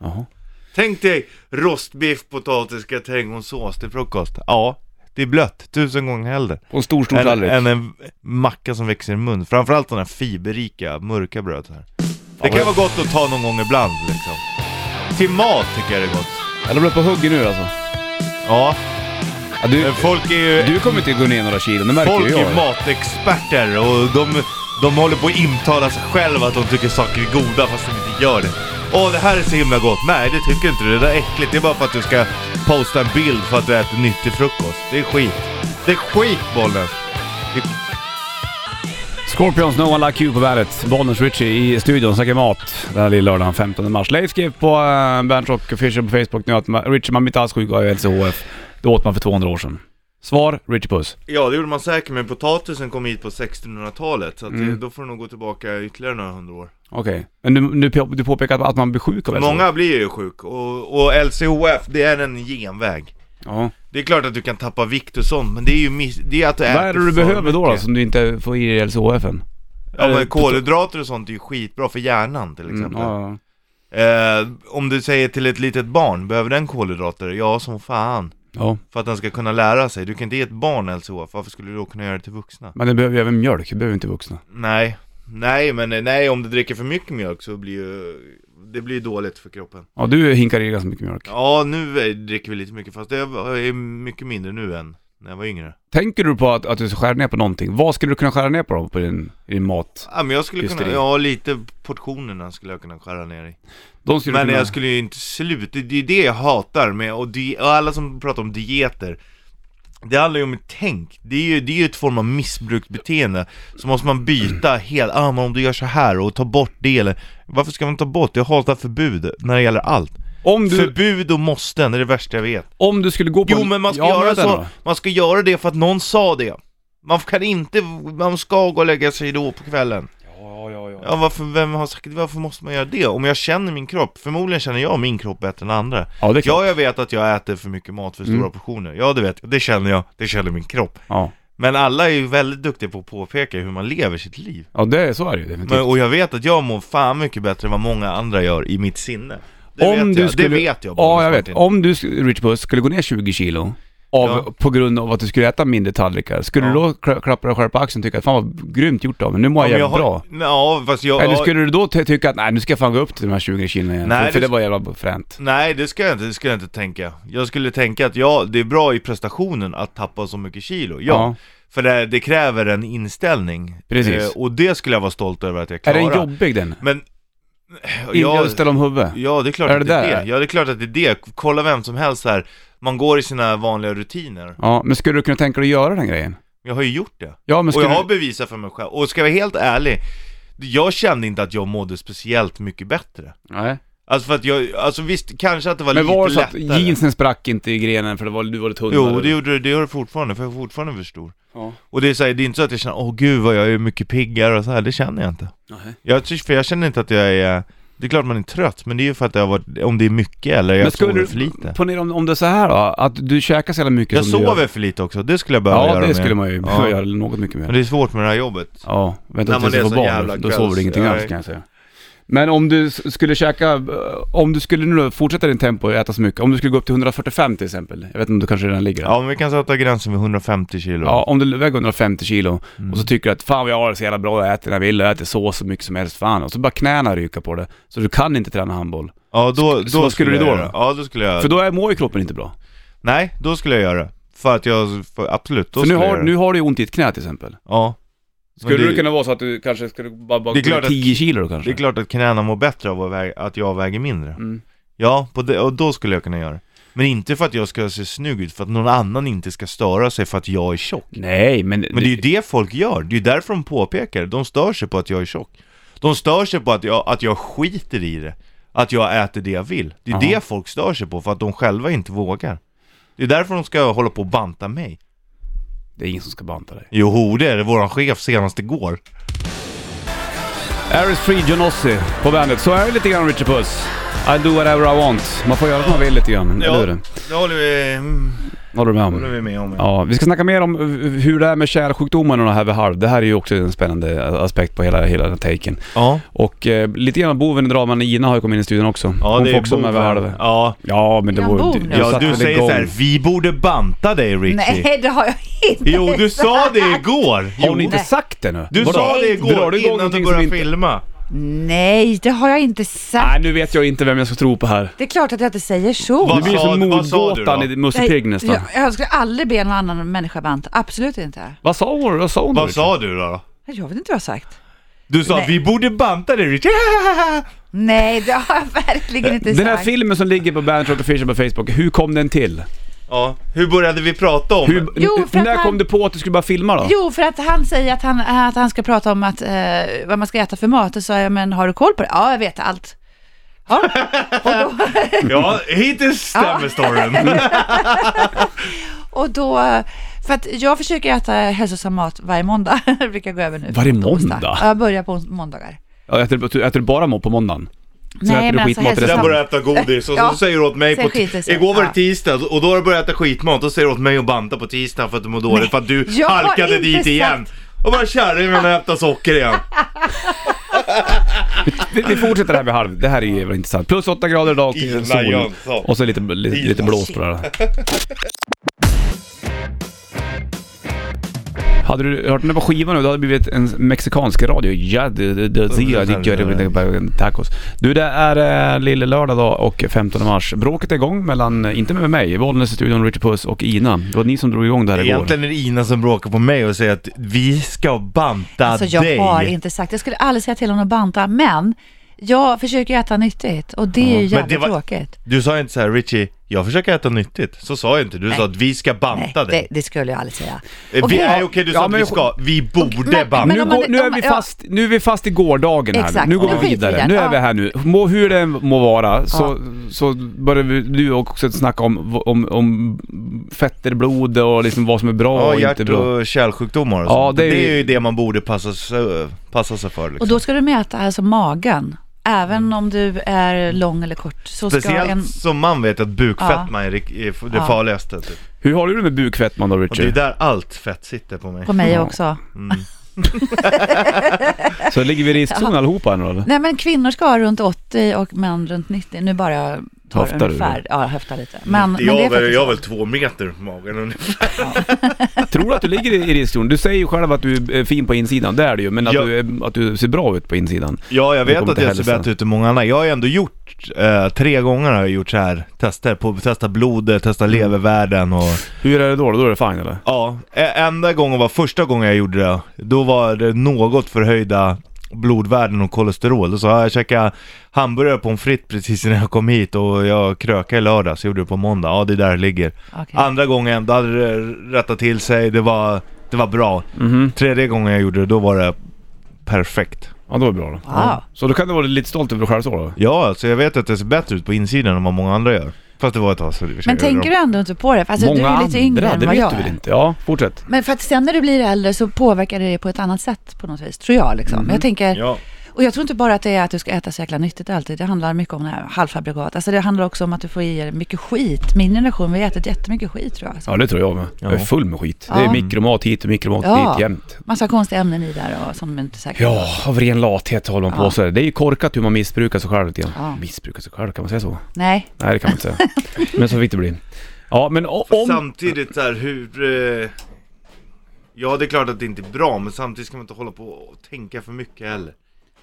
[SPEAKER 1] Jaha.
[SPEAKER 2] Tänk dig rostbiff, potatis, gratäng och sås till frukost. Ja, det är blött. Tusen gånger hellre.
[SPEAKER 1] På en stor, stor
[SPEAKER 2] Än,
[SPEAKER 1] tallrik?
[SPEAKER 2] än en macka som växer i mun. Framförallt sådana här fiberrika, mörka bröd så här. Det kan vara gott att ta någon gång ibland liksom. Till mat tycker jag det är gott.
[SPEAKER 1] Eller blir på huggen nu alltså?
[SPEAKER 2] Ja,
[SPEAKER 1] Ja, du,
[SPEAKER 2] men folk är ju,
[SPEAKER 1] du kommer inte gå ner några kilo, det märker
[SPEAKER 2] folk
[SPEAKER 1] ju jag.
[SPEAKER 2] är matexperter och de, de håller på att intala sig själva att de tycker saker är goda fast de inte gör det. Åh, det här är så himla gott. Nej, det tycker inte du. Det där är äckligt. Det är bara för att du ska posta en bild för att du äter nyttig frukost. Det är skit. Det är skit, bollen.
[SPEAKER 1] Scorpions No One Like You på bandet. Bollnäs Richie i studion snackar mat den här lilla lördagen 15 mars. Leif skrev på uh, Bernt Rock Official på Facebook nu att ma- Richie man blir inte alls sjuk av LCHF. Det åt man för 200 år sedan. Svar Richie Puss.
[SPEAKER 2] Ja, det gjorde man säkert, men potatisen kom hit på 1600-talet. Så att
[SPEAKER 1] Mm.
[SPEAKER 2] det, då får du nog gå tillbaka ytterligare några hundra år.
[SPEAKER 1] Okej, men du, du, på- du påpekar att man blir sjuk av LCHF?
[SPEAKER 2] Många blir ju sjuk och, och LCHF, det är en genväg.
[SPEAKER 1] Ja.
[SPEAKER 2] Det är klart att du kan tappa vikt och sånt, men det är ju miss, det är att du alltså?
[SPEAKER 1] Vad är det du
[SPEAKER 2] för
[SPEAKER 1] behöver då, då
[SPEAKER 2] mycket.
[SPEAKER 1] som du inte får i dig i LCHFen?
[SPEAKER 2] Ja,
[SPEAKER 1] Eh,
[SPEAKER 2] men kolhydrater och sånt är ju skitbra för hjärnan till
[SPEAKER 1] Mm,
[SPEAKER 2] exempel.
[SPEAKER 1] ja, ja.
[SPEAKER 2] eh, om du säger till ett litet barn, behöver den kolhydrater? Ja, som fan.
[SPEAKER 1] ja,
[SPEAKER 2] För att den ska kunna lära sig. Du kan inte ge ett barn LCHF, varför skulle du då kunna göra det till vuxna?
[SPEAKER 1] men det behöver ju även mjölk, det behöver inte vuxna.
[SPEAKER 2] Nej, nej men eh, nej om du dricker för mycket mjölk så blir ju, det blir ju dåligt för kroppen.
[SPEAKER 1] Ja, du hinkar i ganska mycket mjölk.
[SPEAKER 2] Ja nu eh, dricker vi lite mycket fast det är mycket mindre nu än när jag var yngre.
[SPEAKER 1] Tänker du på att, att du ska skära ner på någonting? Vad skulle du kunna skära ner på då, på din, i din mat?
[SPEAKER 2] Ja men jag skulle
[SPEAKER 1] Just
[SPEAKER 2] kunna,
[SPEAKER 1] det.
[SPEAKER 2] ja lite portionerna skulle jag kunna skära ner i.
[SPEAKER 1] De skulle
[SPEAKER 2] Men
[SPEAKER 1] kunna...
[SPEAKER 2] jag skulle ju inte sluta, det det är det jag hatar med, och, di- och alla som pratar om dieter det handlar ju om ett tänk, det är ju, det är ju ett form av missbruksbeteende Så måste man byta helt, ah men om du gör så här och ta bort det eller Varför ska man ta bort? Jag hatar förbud när det gäller allt
[SPEAKER 1] Om du...
[SPEAKER 2] Förbud och måsten är det värsta jag vet
[SPEAKER 1] Om du skulle gå på
[SPEAKER 2] Jo
[SPEAKER 1] en-
[SPEAKER 2] men man ska
[SPEAKER 1] Ja,
[SPEAKER 2] göra
[SPEAKER 1] vänta
[SPEAKER 2] så,
[SPEAKER 1] då.
[SPEAKER 2] man ska göra det för att någon sa det Man kan inte, man ska gå och lägga sig då på kvällen
[SPEAKER 1] Ja, ja, ja.
[SPEAKER 2] Ja varför, vem har sagt, varför måste man göra det? Om jag känner min kropp, förmodligen känner jag min kropp bättre än andra
[SPEAKER 1] Ja, det är klart. Mm.
[SPEAKER 2] Ja jag vet att jag äter för mycket mat för stora portioner, ja det vet jag, det känner jag, det känner min kropp
[SPEAKER 1] Ja,
[SPEAKER 2] Men alla är ju väldigt duktiga på att påpeka hur man lever sitt liv
[SPEAKER 1] ja det, är- så är det ju definitivt.
[SPEAKER 2] men, Och jag vet att jag mår fan mycket bättre än vad många andra gör i mitt sinne Det vet jag, det vet jag
[SPEAKER 1] Ja,
[SPEAKER 2] Boris
[SPEAKER 1] jag vet.
[SPEAKER 2] Martin.
[SPEAKER 1] Om du, sk- Rich Puss, skulle gå ner 20 kilo av,
[SPEAKER 2] Ja.
[SPEAKER 1] på grund av att du skulle äta mindre tallrikar, skulle
[SPEAKER 2] Ja.
[SPEAKER 1] du då kla- klappa dig själv på axeln och tycka att fan vad grymt gjort av mig, nu mår jag
[SPEAKER 2] Ja, men
[SPEAKER 1] jävligt
[SPEAKER 2] har-
[SPEAKER 1] bra?
[SPEAKER 2] Ja fast jag,
[SPEAKER 1] Eller
[SPEAKER 2] ja,
[SPEAKER 1] skulle du då ty- tycka att nej nu ska jag fan gå upp till de här 20 kilona igen,
[SPEAKER 2] Nej,
[SPEAKER 1] för, för
[SPEAKER 2] det
[SPEAKER 1] det var jävla fränt?
[SPEAKER 2] Nej, det skulle jag inte, det skulle jag inte tänka. Jag skulle tänka att ja, det är bra i prestationen att tappa så mycket kilo. Ja,
[SPEAKER 1] Ja.
[SPEAKER 2] för det, det kräver en inställning. Eh,
[SPEAKER 1] Precis.
[SPEAKER 2] och det skulle jag vara stolt över att jag
[SPEAKER 1] Är
[SPEAKER 2] klarar.
[SPEAKER 1] den jobbig den?
[SPEAKER 2] Men...
[SPEAKER 1] Ja.
[SPEAKER 2] Ja,
[SPEAKER 1] Inte ställa om huvudet?
[SPEAKER 2] ja, det är klart
[SPEAKER 1] Är
[SPEAKER 2] att
[SPEAKER 1] det
[SPEAKER 2] det
[SPEAKER 1] där?
[SPEAKER 2] är det. Ja, det är klart att det är det. Kolla vem som helst här. Man går i sina vanliga rutiner.
[SPEAKER 1] Ja, men skulle du kunna tänka dig att göra den grejen?
[SPEAKER 2] Jag har ju gjort det.
[SPEAKER 1] Ja, men
[SPEAKER 2] Och
[SPEAKER 1] skulle
[SPEAKER 2] jag
[SPEAKER 1] du...
[SPEAKER 2] har bevisat för mig själv. Och ska jag vara helt ärlig, jag kände inte att jag mådde speciellt mycket bättre.
[SPEAKER 1] Nej.
[SPEAKER 2] Alltså för att jag, alltså visst, kanske att det var
[SPEAKER 1] Men
[SPEAKER 2] lite
[SPEAKER 1] var det så att
[SPEAKER 2] lättare.
[SPEAKER 1] jeansen sprack inte i grenen för det var, du var lite tunnare?
[SPEAKER 2] Jo, det gjorde det, det gör det fortfarande, för jag är fortfarande för stor.
[SPEAKER 1] Ja.
[SPEAKER 2] Och det är, så här, det är inte så att jag känner, åh gud vad jag är mycket piggare och så här. det känner jag inte.
[SPEAKER 1] Nej.
[SPEAKER 2] Jag, ty- för jag känner inte att jag är, det är klart man är trött, men det är ju för att jag har varit, om det är mycket eller jag sover för lite.
[SPEAKER 1] Ponera om, om det är så här då, att du käkar så jävla mycket
[SPEAKER 2] Jag
[SPEAKER 1] som du
[SPEAKER 2] sover för lite också, det skulle jag behöva
[SPEAKER 1] Ja,
[SPEAKER 2] göra
[SPEAKER 1] det
[SPEAKER 2] mer.
[SPEAKER 1] skulle man ju behöva
[SPEAKER 2] Ja.
[SPEAKER 1] göra något mycket
[SPEAKER 2] Men
[SPEAKER 1] mer.
[SPEAKER 2] det är svårt med det här jobbet.
[SPEAKER 1] Ja, vänta
[SPEAKER 2] När man
[SPEAKER 1] tills du
[SPEAKER 2] är
[SPEAKER 1] får
[SPEAKER 2] så
[SPEAKER 1] barn,
[SPEAKER 2] jävla
[SPEAKER 1] då- då sover du
[SPEAKER 2] kvälls-
[SPEAKER 1] ingenting
[SPEAKER 2] ja,
[SPEAKER 1] alls kan jag säga. Men om du s- skulle käka, eh, om du skulle nu då fortsätta din tempo och äta så mycket, om du skulle gå upp till 145 till exempel, jag vet inte om du kanske redan ligger där.
[SPEAKER 2] Ja, men vi kan sätta gränsen vid 150 kilo. Mm.
[SPEAKER 1] Ja, om du väger 150 kilo och så tycker du att fan vad jag har det så jävla bra, jag äter när jag vill, jag äter sås så mycket som helst, fan. Och så bara knäna ryka på det, så du kan inte träna handboll.
[SPEAKER 2] ja då, då
[SPEAKER 1] så vad skulle du
[SPEAKER 2] jag
[SPEAKER 1] då
[SPEAKER 2] göra.
[SPEAKER 1] då?
[SPEAKER 2] Ja, då skulle jag,
[SPEAKER 1] För då är, mår ju kroppen inte bra.
[SPEAKER 2] nej, då skulle jag göra det. För att jag, för, absolut, då
[SPEAKER 1] För nu
[SPEAKER 2] skulle jag
[SPEAKER 1] har,
[SPEAKER 2] göra
[SPEAKER 1] nu
[SPEAKER 2] det.
[SPEAKER 1] har du ju ont i ett knä till exempel.
[SPEAKER 2] Ja. Men
[SPEAKER 1] Skulle
[SPEAKER 2] det-
[SPEAKER 1] det kunna vara så att du kanske skulle bara, bara
[SPEAKER 2] Det är
[SPEAKER 1] gå ner
[SPEAKER 2] klart att-
[SPEAKER 1] 10 kilo då kanske?
[SPEAKER 2] Det är klart att knäna mår bättre av att vä- att jag väger mindre.
[SPEAKER 1] Mm.
[SPEAKER 2] Ja, på det, och då skulle jag kunna göra det. Men inte för att jag ska se snygg ut, för att någon annan inte ska störa sig för att jag är tjock.
[SPEAKER 1] Nej, men...
[SPEAKER 2] Men det är ju det folk gör, det är ju därför de påpekar det. De stör sig på att jag är tjock. De stör sig på att jag, att jag skiter i det. Att jag äter det jag vill. Det är
[SPEAKER 1] Ja.
[SPEAKER 2] det folk stör sig på, för att de själva inte vågar. Det är därför de ska hålla på och banta mig.
[SPEAKER 1] Det är ingen som ska banta dig.
[SPEAKER 2] Jo, det är det. Våran chef senast igår.
[SPEAKER 1] Aris Free Jonossi på bandet. Så är det lite grann Richie Puss. I do whatever I want. Man får göra som man vill lite grann, eller hur?
[SPEAKER 2] det håller vi, mm,
[SPEAKER 1] Håller du med
[SPEAKER 2] håller
[SPEAKER 1] om?
[SPEAKER 2] vi med om. Ja.
[SPEAKER 1] Ja, vi ska snacka mer om eh, hur det är med kärlsjukdomarna och det här vid halv. Det här är ju också en spännande eh, aspekt på hela, hela den här taken.
[SPEAKER 2] ja.
[SPEAKER 1] Och eh, lite grann boven i dramat, Ina har ju kommit in i studion också. Hon får också med vid
[SPEAKER 2] boven.
[SPEAKER 1] halv.
[SPEAKER 2] Ja,
[SPEAKER 1] Ja, men det
[SPEAKER 3] Jag
[SPEAKER 1] var
[SPEAKER 3] bor
[SPEAKER 1] du,
[SPEAKER 3] nu.
[SPEAKER 2] ja
[SPEAKER 1] satte
[SPEAKER 2] du
[SPEAKER 1] väl
[SPEAKER 2] säger
[SPEAKER 1] igång.
[SPEAKER 2] så här, vi borde banta dig Ricky.
[SPEAKER 3] Nej, det har jag inte
[SPEAKER 2] Jo, du sa det igår.
[SPEAKER 1] Har hon
[SPEAKER 2] Jo.
[SPEAKER 1] inte
[SPEAKER 3] Nej.
[SPEAKER 1] sagt det nu?
[SPEAKER 2] Du
[SPEAKER 1] Vadå?
[SPEAKER 2] sa det
[SPEAKER 1] Drar
[SPEAKER 2] igår
[SPEAKER 1] du igång
[SPEAKER 2] innan du
[SPEAKER 1] någonting
[SPEAKER 2] började
[SPEAKER 1] som inte-
[SPEAKER 2] filma.
[SPEAKER 3] Nej, det har jag inte sagt.
[SPEAKER 1] Nej, nu vet jag inte vem jag ska tro på här.
[SPEAKER 3] Det är klart att jag inte säger så.
[SPEAKER 1] Det
[SPEAKER 2] Vad
[SPEAKER 1] blir ju
[SPEAKER 2] sa-
[SPEAKER 1] som
[SPEAKER 2] vad sa du
[SPEAKER 1] mordgåtan
[SPEAKER 2] då?
[SPEAKER 1] i Musse
[SPEAKER 3] Nej,
[SPEAKER 1] Pigg nästan.
[SPEAKER 3] Jag, jag skulle aldrig be någon annan människa banta. Absolut inte.
[SPEAKER 1] Vad sa hon? Vad sa hon då,
[SPEAKER 2] Vad
[SPEAKER 1] Richie?
[SPEAKER 2] sa du då?
[SPEAKER 3] Jag vet inte vad jag har sagt.
[SPEAKER 2] Du sa,
[SPEAKER 3] Nej.
[SPEAKER 2] vi borde banta dig [laughs] Ricky.
[SPEAKER 3] Nej, det har jag [laughs] verkligen inte
[SPEAKER 1] Den här
[SPEAKER 3] sagt.
[SPEAKER 1] filmen som ligger på Bandit Rock Official på Facebook, hur kom den till?
[SPEAKER 2] Ja, hur började vi prata om
[SPEAKER 1] Hur,
[SPEAKER 3] Jo,
[SPEAKER 1] n-
[SPEAKER 3] för att
[SPEAKER 1] när
[SPEAKER 3] han-
[SPEAKER 1] kom du på att du skulle börja filma då?
[SPEAKER 3] Jo, för att han säger att han, att han ska prata om att, eh, vad man ska äta för mat. Och så sa jag, men har du koll på det? Ja, jag vet allt. Ja. Och, då,
[SPEAKER 2] det? Ja, hittills stämmer
[SPEAKER 3] Ja. [laughs]
[SPEAKER 2] storyn.
[SPEAKER 3] och då, för att jag försöker äta hälsosam mat varje måndag. [laughs] Det brukar jag gå över nu.
[SPEAKER 1] Varje
[SPEAKER 3] på torsdag.
[SPEAKER 1] måndag?
[SPEAKER 3] Ja, jag börjar på måndagar.
[SPEAKER 1] Ja, Äter, du- äter du bara mat på måndagen? Sen äter du
[SPEAKER 3] alltså,
[SPEAKER 1] skitmat resten.
[SPEAKER 2] Sen
[SPEAKER 1] Samma.
[SPEAKER 2] börjar jag äta godis och
[SPEAKER 3] Ja.
[SPEAKER 2] så säger du åt mig
[SPEAKER 3] Sen
[SPEAKER 2] på t-
[SPEAKER 3] skiter sig.
[SPEAKER 2] Igår var det
[SPEAKER 3] Ja.
[SPEAKER 2] tisdag och då har du börjat äta skitmat och säger du åt mig att banta på tisdag för att du mår dåligt för att du
[SPEAKER 3] jag har
[SPEAKER 2] halkade
[SPEAKER 3] inte
[SPEAKER 2] dit
[SPEAKER 3] sagt-
[SPEAKER 2] igen. Och bara kärringen vill äta socker [laughs] igen.
[SPEAKER 1] Vi, vi fortsätter här vid halv, det här är ju intressant. Plus åtta grader idag och
[SPEAKER 2] Ina
[SPEAKER 1] sol.
[SPEAKER 2] Jönsson.
[SPEAKER 1] Och så lite, lite, lite
[SPEAKER 2] Ina.
[SPEAKER 1] blås på det här. [laughs] Hade du hört den där på skivan nu, då hade det blivit en mexikansk radio. Ja, det- det- det- det- jag tycker det blir Tacos. Du, det är eh, lille lördag då och 15 mars. Bråket är igång mellan, eh, inte med mig, Bollnäs-studion, Richard Puss och Ina. Det var ni som drog igång det här igår.
[SPEAKER 2] Egentligen är det Ina som bråkar på mig och säger att vi ska banta
[SPEAKER 3] Alltså jag
[SPEAKER 2] dig.
[SPEAKER 3] har inte sagt, jag skulle aldrig säga till honom att banta, men jag försöker äta nyttigt och det är ju
[SPEAKER 2] Men det
[SPEAKER 3] jävligt
[SPEAKER 2] var-
[SPEAKER 3] tråkigt.
[SPEAKER 2] Du sa inte så här Richie, jag försöker äta nyttigt. Så sa jag inte, du sa att vi ska
[SPEAKER 3] Nej,
[SPEAKER 2] banta
[SPEAKER 3] det,
[SPEAKER 2] dig.
[SPEAKER 3] det skulle jag aldrig säga.
[SPEAKER 1] Liksom.
[SPEAKER 2] Eh, Vi,
[SPEAKER 3] Okej.
[SPEAKER 2] nej okej du sa
[SPEAKER 1] Ja,
[SPEAKER 2] att
[SPEAKER 1] men-
[SPEAKER 2] vi ska, vi borde
[SPEAKER 3] men-
[SPEAKER 2] banta.
[SPEAKER 3] men
[SPEAKER 1] nu,
[SPEAKER 3] om man-
[SPEAKER 1] går, nu, är
[SPEAKER 3] om-
[SPEAKER 1] vi
[SPEAKER 3] ja.
[SPEAKER 1] fast, nu är vi fast i gårdagen här
[SPEAKER 3] Exakt.
[SPEAKER 1] nu. Nu går
[SPEAKER 3] Ja.
[SPEAKER 1] vi
[SPEAKER 3] Skit i
[SPEAKER 1] vidare.
[SPEAKER 3] det.
[SPEAKER 1] Nu är
[SPEAKER 3] Ja.
[SPEAKER 1] vi här nu. Må, hur det än må vara så, så börjar vi, du också snacka om, om, om fetter, blod och liksom vad som är bra
[SPEAKER 2] Ja,
[SPEAKER 1] och inte
[SPEAKER 2] hjärt
[SPEAKER 1] bra.
[SPEAKER 2] och kärlsjukdomar och
[SPEAKER 1] Ja,
[SPEAKER 2] sånt.
[SPEAKER 1] det är
[SPEAKER 2] det
[SPEAKER 1] ju-
[SPEAKER 2] är ju det man borde passa sig, passa sig för
[SPEAKER 3] Och
[SPEAKER 2] liksom.
[SPEAKER 3] då ska du mäta alltså magen, även
[SPEAKER 1] Mm.
[SPEAKER 3] om du är lång eller kort. Så ska
[SPEAKER 2] Speciellt
[SPEAKER 3] en...
[SPEAKER 2] som man vet att bukfetma är det- är det
[SPEAKER 3] Ja.
[SPEAKER 2] farligaste. Typ.
[SPEAKER 1] Hur har du det med bukfettman då
[SPEAKER 2] Och det är
[SPEAKER 1] Richard?
[SPEAKER 2] där allt fett sitter på mig. Mm.
[SPEAKER 3] På mig
[SPEAKER 1] Ja.
[SPEAKER 3] också.
[SPEAKER 1] Så ligger vi i ristzon allihopa här nu eller?
[SPEAKER 3] Nej men kvinnor ska ha runt 80 och män runt 90. Nu bara jag tar
[SPEAKER 1] Höftar du
[SPEAKER 3] ungefär. Ja, jag höftar lite. [laughs] Men, men det är faktiskt...
[SPEAKER 2] två meter på magen ungefär.
[SPEAKER 1] Tror du att du ligger i ristzon? Du säger ju själv att du är fin på insidan, det är du ju. Men att,
[SPEAKER 2] Ja.
[SPEAKER 1] du, är- att du ser bra ut på insidan.
[SPEAKER 2] Ja, jag
[SPEAKER 1] Det
[SPEAKER 2] vet
[SPEAKER 1] kommer
[SPEAKER 2] att
[SPEAKER 1] till
[SPEAKER 2] jag ser
[SPEAKER 1] hälsan.
[SPEAKER 2] bättre ut än många andra. Jag har ju ändå gjort, eh, tre gånger har jag gjort så här tester. På, testa blodet, testa levervärden och...
[SPEAKER 1] Hur är det då? Då är det fine eller?
[SPEAKER 2] Ja, e- enda gången var första gången jag gjorde det. Då var det något förhöjda blodvärden och kolesterol. Då sa jag, jag käkade hamburgare på en fritt precis innan jag kom hit och jag krökade i lördags, jag gjorde det på måndag. Ja, det är där det ligger.
[SPEAKER 3] Okej.
[SPEAKER 1] Alltså,
[SPEAKER 2] Andra gången, då hade det rättat till sig, det var, det var bra.
[SPEAKER 1] Mhm.
[SPEAKER 2] Tredje gången jag gjorde det, då var det perfekt.
[SPEAKER 1] Ja, då är det bra då.
[SPEAKER 3] Wow.
[SPEAKER 1] Så då kan du vara lite stolt över dig själv så då?
[SPEAKER 2] Ja, alltså jag vet att det ser bättre ut på insidan än vad många andra gör. Fast det var ett tag sedan i och för sig.
[SPEAKER 3] Men tänker du ändå inte på det? För Alltså,
[SPEAKER 1] Många
[SPEAKER 3] du är ju lite yngre
[SPEAKER 1] andra,
[SPEAKER 3] än
[SPEAKER 1] det
[SPEAKER 3] vad
[SPEAKER 1] vet
[SPEAKER 3] jag
[SPEAKER 1] du väl
[SPEAKER 3] är.
[SPEAKER 1] inte? Ja, fortsätt.
[SPEAKER 3] Men för att sen när du blir äldre så påverkar det dig på ett annat sätt på något vis, tror jag. Liksom.
[SPEAKER 1] Mm.
[SPEAKER 3] Jag tänker,
[SPEAKER 2] Ja.
[SPEAKER 3] och jag tror inte bara att det är att du ska äta så jäkla nyttigt alltid. Det handlar mycket om det här halvfabrikat. Alltså det handlar också om att du får i dig mycket skit. Min generation, vi har ätit jättemycket skit tror jag. Alltså.
[SPEAKER 1] Ja det tror jag med. Jag är
[SPEAKER 2] Ja.
[SPEAKER 1] full med skit. Det är
[SPEAKER 3] Ja.
[SPEAKER 1] mikromat hit och mikromat
[SPEAKER 3] Ja.
[SPEAKER 1] dit jämt.
[SPEAKER 3] Massa konstiga ämnen i där och som inte säkert...
[SPEAKER 1] Ja, av ren lathet håller man på
[SPEAKER 3] Ja.
[SPEAKER 1] så. här. Det är ju korkat hur man missbrukar sig själv lite grann.
[SPEAKER 3] Ja.
[SPEAKER 1] Missbrukar sig själv, kan man säga så?
[SPEAKER 3] Nej.
[SPEAKER 1] Nej det kan man inte
[SPEAKER 3] [laughs]
[SPEAKER 1] säga. men så fick det bli. Ja men o-
[SPEAKER 2] För
[SPEAKER 1] om...
[SPEAKER 2] Samtidigt så här, hur... Eh, ja, det är klart att det inte är bra, men samtidigt ska man inte hålla på och tänka för mycket heller.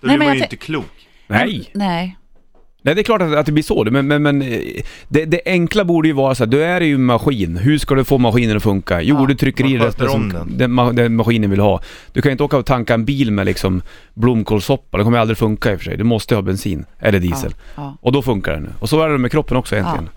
[SPEAKER 2] Då blir
[SPEAKER 3] Nej, men
[SPEAKER 2] man
[SPEAKER 3] jag
[SPEAKER 2] ju
[SPEAKER 3] tän-
[SPEAKER 2] inte klok.
[SPEAKER 1] Nej!
[SPEAKER 3] Nej.
[SPEAKER 1] Nej det är klart att, att det blir så. Men, men, men eh, det, det enkla borde ju vara så här, du är ju en maskin. Hur ska du få maskinen att funka? Jo,
[SPEAKER 3] Ja.
[SPEAKER 1] du trycker
[SPEAKER 2] Man
[SPEAKER 1] i det
[SPEAKER 2] sköter
[SPEAKER 1] där som
[SPEAKER 2] om den.
[SPEAKER 1] den, ma- den maskinen vill ha. Du kan ju inte åka och tanka en bil med liksom blomkålssoppa. Det kommer ju aldrig funka i och för sig. Du måste ha bensin. Eller diesel.
[SPEAKER 3] Ja.
[SPEAKER 1] Och då funkar den. Och så är det med kroppen också egentligen.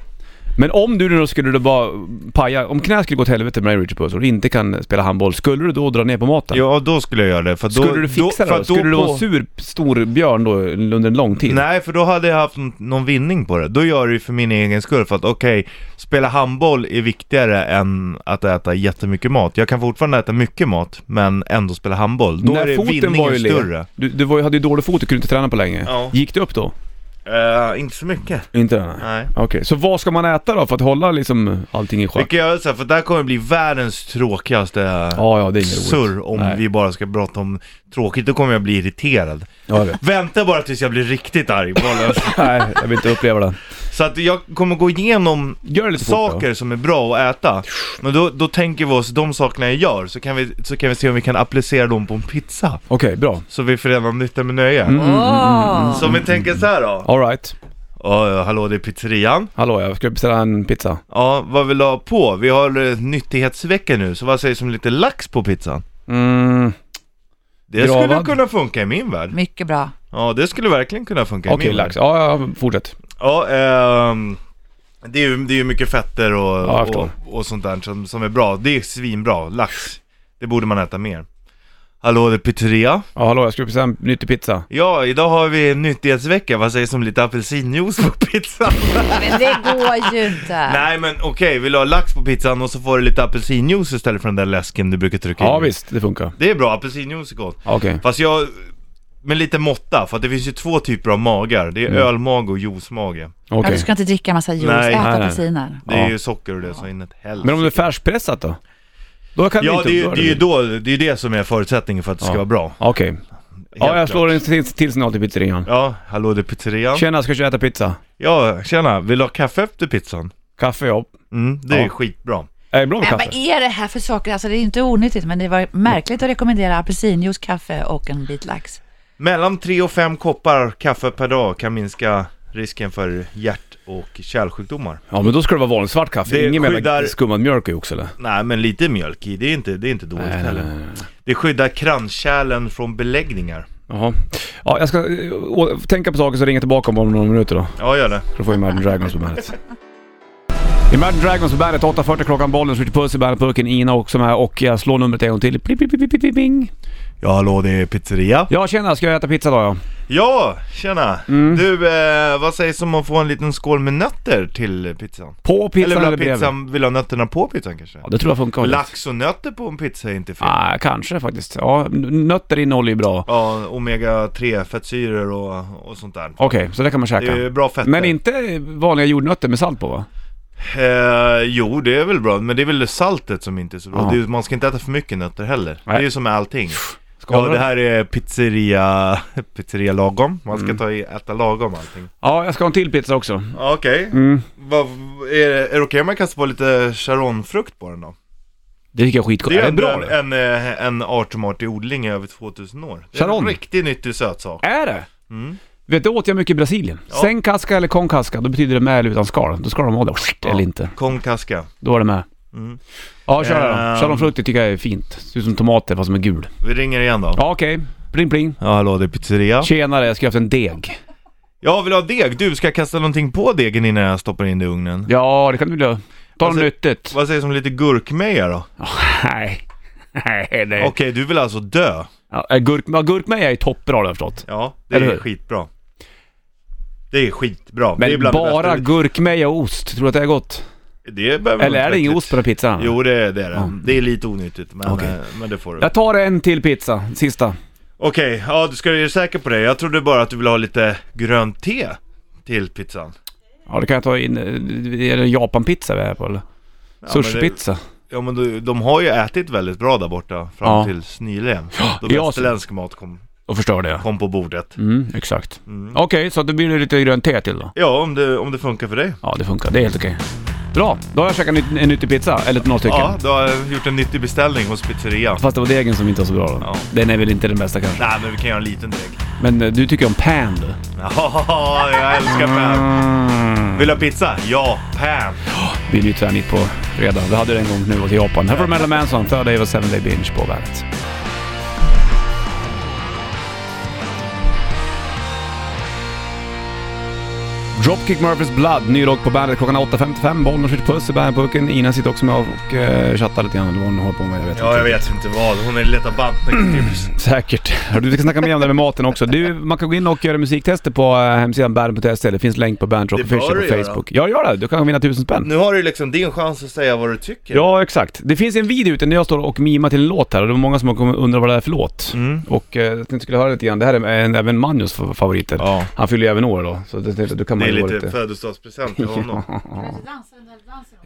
[SPEAKER 1] Men om du nu då skulle då bara paja, om knät skulle gå till helvete med dig Richard Puss och du inte kan spela handboll, skulle du då dra ner på maten?
[SPEAKER 2] Ja, då skulle jag göra det. För då,
[SPEAKER 1] Skulle du fixa
[SPEAKER 2] då, för
[SPEAKER 1] det då?
[SPEAKER 2] att
[SPEAKER 1] Skulle du vara
[SPEAKER 2] på-
[SPEAKER 1] en sur, stor björn då under en lång tid?
[SPEAKER 2] Nej, för då hade jag haft n- någon vinning på det. Då gör jag det för min egen skull, för att okej, spela handboll är viktigare än att äta jättemycket mat. Jag kan fortfarande äta mycket mat, men ändå spela handboll. Då
[SPEAKER 1] När
[SPEAKER 2] är det
[SPEAKER 1] foten
[SPEAKER 2] vinningen
[SPEAKER 1] var ju led.
[SPEAKER 2] större.
[SPEAKER 1] Du, du var, ju- hade ju dålig fot och kunde inte träna på länge.
[SPEAKER 2] Ja.
[SPEAKER 1] Gick det upp då?
[SPEAKER 2] Eh, inte så mycket.
[SPEAKER 1] Inte? Nej.
[SPEAKER 2] Nej.
[SPEAKER 1] Okej, så vad ska man äta då för att hålla liksom allting i schack?
[SPEAKER 2] Vilket jag säga, för det här kommer bli världens tråkigaste
[SPEAKER 1] Ja, ja, det är inget roligt.
[SPEAKER 2] surr om
[SPEAKER 1] Nej.
[SPEAKER 2] vi bara ska prata om tråkigt. Då kommer jag bli irriterad.
[SPEAKER 1] Ja, jag vet.
[SPEAKER 2] Vänta bara tills jag blir riktigt arg. Bollen.
[SPEAKER 1] [laughs] Nej, jag vill inte uppleva det.
[SPEAKER 2] så att jag kommer gå igenom
[SPEAKER 1] Gör det lite fort då.
[SPEAKER 2] saker som är bra att äta. Men då, då tänker vi oss de sakerna jag gör, så kan, vi, så kan vi se om vi kan applicera dem på en pizza.
[SPEAKER 1] Okej, bra.
[SPEAKER 2] Så vi förenar nytta med nöje.
[SPEAKER 1] Mm.
[SPEAKER 3] Åh!
[SPEAKER 2] Så om vi tänker så här då.
[SPEAKER 1] Alright.
[SPEAKER 2] Ja, ja, hallå det är pizzerian.
[SPEAKER 1] Hallå, jag ska beställa en pizza.
[SPEAKER 2] Ja, vad vill du ha på? Vi har eh, nyttighetsvecka nu, så vad sägs om lite lax på pizzan?
[SPEAKER 1] Mm.
[SPEAKER 2] Det skulle
[SPEAKER 1] Gravad.
[SPEAKER 2] kunna funka i min värld.
[SPEAKER 3] Mycket bra.
[SPEAKER 2] Ja, det skulle verkligen kunna funka
[SPEAKER 1] Okej,
[SPEAKER 2] i min
[SPEAKER 1] lax.
[SPEAKER 2] värld.
[SPEAKER 1] Ja, ja, fortsätt.
[SPEAKER 2] Ja, ehm, det, är ju, det är ju mycket fetter och,
[SPEAKER 1] jag
[SPEAKER 2] och,
[SPEAKER 1] förstår.
[SPEAKER 2] och sånt där som, som är bra. Det är svinbra. Lax. Det borde man äta mer. Hallå, det är pizzeria.
[SPEAKER 1] Ja, hallå, jag ska beställa en nyttig pizza.
[SPEAKER 2] Ja, idag har vi en nyttighetsvecka. Vad sägs om lite apelsinjuice på pizzan?
[SPEAKER 3] Men det går ju inte. Alltså,
[SPEAKER 2] Nej, men okej. Vill du ha lax på pizzan och så får du lite apelsinjuice istället för den där läsken du brukar trycka
[SPEAKER 1] Ja,
[SPEAKER 2] i?
[SPEAKER 1] visst, det funkar.
[SPEAKER 2] Det är bra. Apelsinjuice är gott.
[SPEAKER 1] Okej.
[SPEAKER 2] Fast jag... Med lite måtta, för att det finns ju två typer av magar. Det är
[SPEAKER 1] Mm.
[SPEAKER 2] ölmage och juicemage.
[SPEAKER 3] Ja,
[SPEAKER 1] Okej.
[SPEAKER 3] du ska inte dricka massa juice,
[SPEAKER 2] Nej.
[SPEAKER 1] Nej,
[SPEAKER 3] äta
[SPEAKER 1] nej.
[SPEAKER 3] apelsiner.
[SPEAKER 2] Det är
[SPEAKER 1] Ja.
[SPEAKER 2] ju socker och det som är inåt helvete.
[SPEAKER 1] Men om det är färskpressat då? Då kan
[SPEAKER 2] Ja,
[SPEAKER 1] inte
[SPEAKER 2] det är, ju,
[SPEAKER 1] då
[SPEAKER 2] det är ju då, det är ju det som är förutsättningen för att det ska
[SPEAKER 1] Ja.
[SPEAKER 2] vara bra.
[SPEAKER 1] Okej. Ja, jag
[SPEAKER 2] Helt
[SPEAKER 1] slår
[SPEAKER 2] klart.
[SPEAKER 1] en till, till signal till pizzerian.
[SPEAKER 2] Ja, hallå det är pizzerian.
[SPEAKER 1] Tjena, ska jag äta pizza?
[SPEAKER 2] Ja, tjena. Vill du ha kaffe efter pizzan?
[SPEAKER 1] Kaffe, ja.
[SPEAKER 2] Mm, det är
[SPEAKER 1] Ja.
[SPEAKER 2] ju skitbra.
[SPEAKER 1] Är det bra med
[SPEAKER 3] Men
[SPEAKER 1] kaffe?
[SPEAKER 3] vad är det här för saker? Alltså det är inte onyttigt, men det var märkligt att rekommendera apelsinjuice, kaffe och en bit lax.
[SPEAKER 2] Mellan tre och fem koppar kaffe per dag kan minska risken för hjärt och kärlsjukdomar.
[SPEAKER 1] Ja, men då ska det vara vanligt svart kaffe.
[SPEAKER 2] Det
[SPEAKER 1] Ingen jävla
[SPEAKER 2] skyddar-
[SPEAKER 1] skummad mjölk i också eller? Äh,
[SPEAKER 2] Nej, men lite mjölk i, det är inte, det är inte dåligt
[SPEAKER 1] Nej, nej,
[SPEAKER 2] heller.
[SPEAKER 1] nej. nej.
[SPEAKER 2] Det skyddar kranskärlen från beläggningar.
[SPEAKER 1] Jaha. Ja, jag ska eh, å- tänka på saker så ringer jag tillbaka om några minuter då.
[SPEAKER 2] Ja, gör det.
[SPEAKER 1] Då får vi Imagine Dragons på bandet. Imagine Dragons på bandet, 8.40 klockan, bollen, Richard Puss i bandetburken, Ina också med och jag slår numret en gång till. Pling, pling, pling, pling, pling, pling.
[SPEAKER 2] Ja, hallå det är pizzeria.
[SPEAKER 1] Ja tjena, ska jag äta pizza då ja?
[SPEAKER 2] Ja, tjena.
[SPEAKER 1] Mm.
[SPEAKER 2] Du, eh, vad sägs om att få en liten skål med nötter till pizzan?
[SPEAKER 1] På pizzan
[SPEAKER 2] eller
[SPEAKER 1] eller,
[SPEAKER 2] vill ha,
[SPEAKER 1] bredvid?
[SPEAKER 2] pizzan, vill ha nötterna på pizzan kanske?
[SPEAKER 1] Ja, det tror jag funkar.
[SPEAKER 2] Lax typ. och nötter på en pizza är inte fel.
[SPEAKER 1] Ah, kanske faktiskt. Ja, n- nötter innehåller ju bra.
[SPEAKER 2] Ja, omega 3 fettsyror och, och sånt där.
[SPEAKER 1] Okej, så det kan man
[SPEAKER 2] Det
[SPEAKER 1] käka.
[SPEAKER 2] är ju bra fetter.
[SPEAKER 1] Men inte vanliga jordnötter med salt på va?
[SPEAKER 2] Eh, jo, det är väl bra, men det är väl saltet som inte är så bra.
[SPEAKER 1] Ja.
[SPEAKER 2] Det är, man ska inte äta för mycket nötter heller.
[SPEAKER 1] Nej.
[SPEAKER 2] Det är ju som med allting. Ja,
[SPEAKER 1] Skalar
[SPEAKER 2] det här är pizzeria, [laughs] pizzeria lagom. Man
[SPEAKER 1] Mm.
[SPEAKER 2] ska ta i, äta lagom allting.
[SPEAKER 1] Ja, jag ska ha en till pizza också.
[SPEAKER 2] Ja, Okej,
[SPEAKER 1] Mm.
[SPEAKER 2] Vad- är, det- är det okej om jag kastar på lite charonfrukt på den då?
[SPEAKER 1] Det tycker jag är skitgott.
[SPEAKER 2] Det
[SPEAKER 1] Är
[SPEAKER 2] är,
[SPEAKER 1] det
[SPEAKER 2] ändå
[SPEAKER 1] bra det?
[SPEAKER 2] en, en, en art som art i odling i över 2000 år. Det är en
[SPEAKER 1] Charon.
[SPEAKER 2] riktigt nyttig sötsak.
[SPEAKER 1] Är det?
[SPEAKER 2] Mm.
[SPEAKER 1] Vet du, åt jag mycket i Brasilien.
[SPEAKER 2] Ja.
[SPEAKER 1] Sen kaska eller con casca, då betyder det med eller utan skal. Då ska de ha det. Eller inte.
[SPEAKER 2] Con casca.
[SPEAKER 1] Då är det med.
[SPEAKER 2] Mm.
[SPEAKER 1] Ja, kör det
[SPEAKER 2] Ehm.
[SPEAKER 1] då. Chardonnayfrukt det tycker jag är fint. Ser ut som tomater fast som är gul.
[SPEAKER 2] Vi ringer igen då.
[SPEAKER 1] Ja, okej. Pling pling.
[SPEAKER 2] Ja, hallå, det är pizzeria.
[SPEAKER 1] Tjenare, jag ska haft en deg.
[SPEAKER 2] Jag vill ha deg. Du, ska jag kasta någonting på degen innan jag stoppar in det i ugnen?
[SPEAKER 1] Ja, det kan du vilja. Ta något
[SPEAKER 2] Alltså-
[SPEAKER 1] nyttigt.
[SPEAKER 2] Vad sägs om lite gurkmeja då?
[SPEAKER 1] Nej. Nej, nej.
[SPEAKER 2] Okej, du vill alltså dö?
[SPEAKER 1] Ja, äh, gurk, ja, gurkmeja är toppbra har jag förstått.
[SPEAKER 2] Ja, det
[SPEAKER 1] Eller
[SPEAKER 2] är
[SPEAKER 1] hur?
[SPEAKER 2] skitbra. Det är skitbra. det är
[SPEAKER 1] Men
[SPEAKER 2] bland det
[SPEAKER 1] bara
[SPEAKER 2] bästa.
[SPEAKER 1] gurkmeja och ost, tror du att det är gott?
[SPEAKER 2] Det behöver man
[SPEAKER 1] Eller är
[SPEAKER 2] inte
[SPEAKER 1] det ingen
[SPEAKER 2] riktigt.
[SPEAKER 1] ost på den här pizzan?
[SPEAKER 2] Jo, det är det. är det.
[SPEAKER 1] Ja.
[SPEAKER 2] Det är lite onyttigt, men,
[SPEAKER 1] Okej.
[SPEAKER 2] eh, men det får du.
[SPEAKER 1] Jag tar en till pizza, sista.
[SPEAKER 2] Okej, ja, du ska ju säker på det. Jag trodde bara att du ville ha lite grönt te till pizzan.
[SPEAKER 1] Ja, då kan jag ta in... eh, Är det en japanpizza vi är på eller?
[SPEAKER 2] Ja, men det-
[SPEAKER 1] Sushipizza.
[SPEAKER 2] Ja men du, de har ju ätit väldigt bra där borta fram
[SPEAKER 1] Ja.
[SPEAKER 2] tills nyligen. Då
[SPEAKER 1] i Asien.
[SPEAKER 2] västerländsk mat kom,
[SPEAKER 1] Då förstör det ja.
[SPEAKER 2] kom på bordet.
[SPEAKER 1] Mm, exakt.
[SPEAKER 2] Mm.
[SPEAKER 1] Okej, så då blir det lite grönt te till då.
[SPEAKER 2] Ja, om det, om det funkar för dig.
[SPEAKER 1] Ja, det funkar. Det är helt okej. Bra, då har jag käkat en, en nyttig pizza, eller några stycken.
[SPEAKER 2] Ja, du har gjort en nyttig beställning hos pizzeria.
[SPEAKER 1] Fast det var degen som inte var så bra då.
[SPEAKER 2] Ja.
[SPEAKER 1] Den är väl inte den bästa kanske.
[SPEAKER 2] Nej men vi kan göra en liten deg. [laughs]
[SPEAKER 1] Men eh, du tycker om pan du.
[SPEAKER 2] Ja, jag älskar pan.
[SPEAKER 1] Mm.
[SPEAKER 2] Vill du ha pizza? Ja, pan.
[SPEAKER 1] Vi blir ju tvärnit på fredag. Vi hade det en gång nu och till Japan. Här får du Marilyn Manson, Third Day of a Seven Day Binge på bandet. Dropkick Murphys Blood, ny rock på bandet klockan 8.55. Bollnäs Ritch Puss i bandetburken. Ina sitter också med och eh, chattar lite grann. Eller vad hon håller på med, jag vet
[SPEAKER 2] Ja, jag vet inte vad. Hon är letar
[SPEAKER 1] [clears throat]
[SPEAKER 2] bantningstips.
[SPEAKER 1] Säkert. Hörru, Du, vi ska snacka mer om det här med maten också. Du, man kan gå in och göra musiktester på eh, hemsidan bandet.se. Det finns länk på Bandet Rock
[SPEAKER 2] Det bör
[SPEAKER 1] Official
[SPEAKER 2] du
[SPEAKER 1] på
[SPEAKER 2] göra.
[SPEAKER 1] Facebook. Ja, gör det. Du kan vinna tusen spänn.
[SPEAKER 2] Nu har du liksom din chans att säga vad du tycker.
[SPEAKER 1] Ja, exakt. Det finns en video ute när jag står och mimar till en låt här och det var många som kommer undra vad det är för låt.
[SPEAKER 2] Mm.
[SPEAKER 1] Och eh, jag tänkte jag skulle höra lite grann. Det här är eh, en, även Manjos favoriter.
[SPEAKER 2] Ja.
[SPEAKER 1] Han fyller ju även år då, så det, det, du kan
[SPEAKER 2] Det
[SPEAKER 1] man
[SPEAKER 2] är
[SPEAKER 1] ju gå
[SPEAKER 2] lite
[SPEAKER 1] lite... [laughs]
[SPEAKER 2] födelsedagspresent till honom.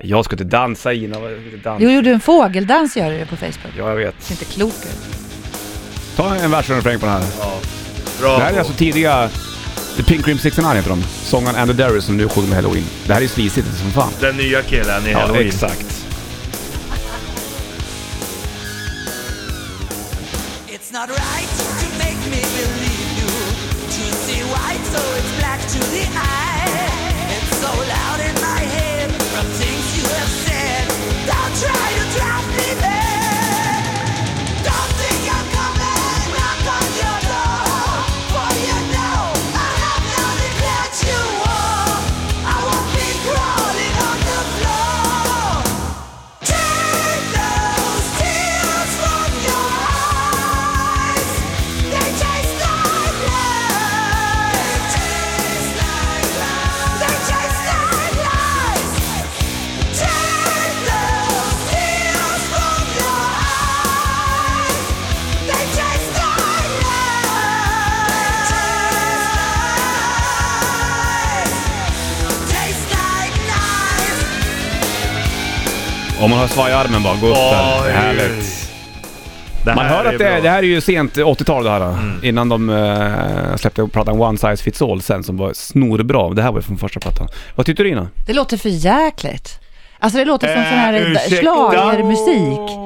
[SPEAKER 1] Jag ska inte dansa Ina, vad- jag ska inte dansa.
[SPEAKER 3] Jo, gjorde en fågeldans gör du ju på Facebook.
[SPEAKER 1] Ja, jag
[SPEAKER 3] Det är
[SPEAKER 1] vet.
[SPEAKER 3] inte klok ut.
[SPEAKER 1] Ta en vers och en refräng på den här.
[SPEAKER 2] Ja. Bra.
[SPEAKER 1] Det här är alltså tidiga... The Pink Cream 69 heter de. Sångaren Andy Darius som nu sjunger med Halloween. Det här är ju slisigt som fan.
[SPEAKER 2] Den nya killen i
[SPEAKER 1] Ja,
[SPEAKER 2] Halloween.
[SPEAKER 1] exakt.
[SPEAKER 4] It's not right to make me believe you. To see white, so it's black to the eye. It's so loud in my head from things you have said. Don't try to drive me mad. Don't think I'm coming knock on your door. For you know I have no declared you war. I won't be crawling on the floor. Take those tears from your eyes. They taste like lies. They taste like lies. Take those tears from your eyes. They taste like lies. Taste like lies.
[SPEAKER 1] Om man har svajarmen bara, gå upp där. Det är
[SPEAKER 2] Oj.
[SPEAKER 1] härligt.
[SPEAKER 2] Det
[SPEAKER 1] Man
[SPEAKER 2] här
[SPEAKER 1] hör
[SPEAKER 2] är
[SPEAKER 1] att det,
[SPEAKER 2] bra. Mm.
[SPEAKER 1] det här är ju sent 80-tal det här. Innan de eh, släppte plattan One Size Fits All sen som var snorbra. Det här var ju från första plattan. Vad tyckte du Ina?
[SPEAKER 3] Det låter för jäkligt. Alltså det låter som
[SPEAKER 2] Eh,
[SPEAKER 3] sån här
[SPEAKER 2] ursäkta.
[SPEAKER 3] schlagermusik.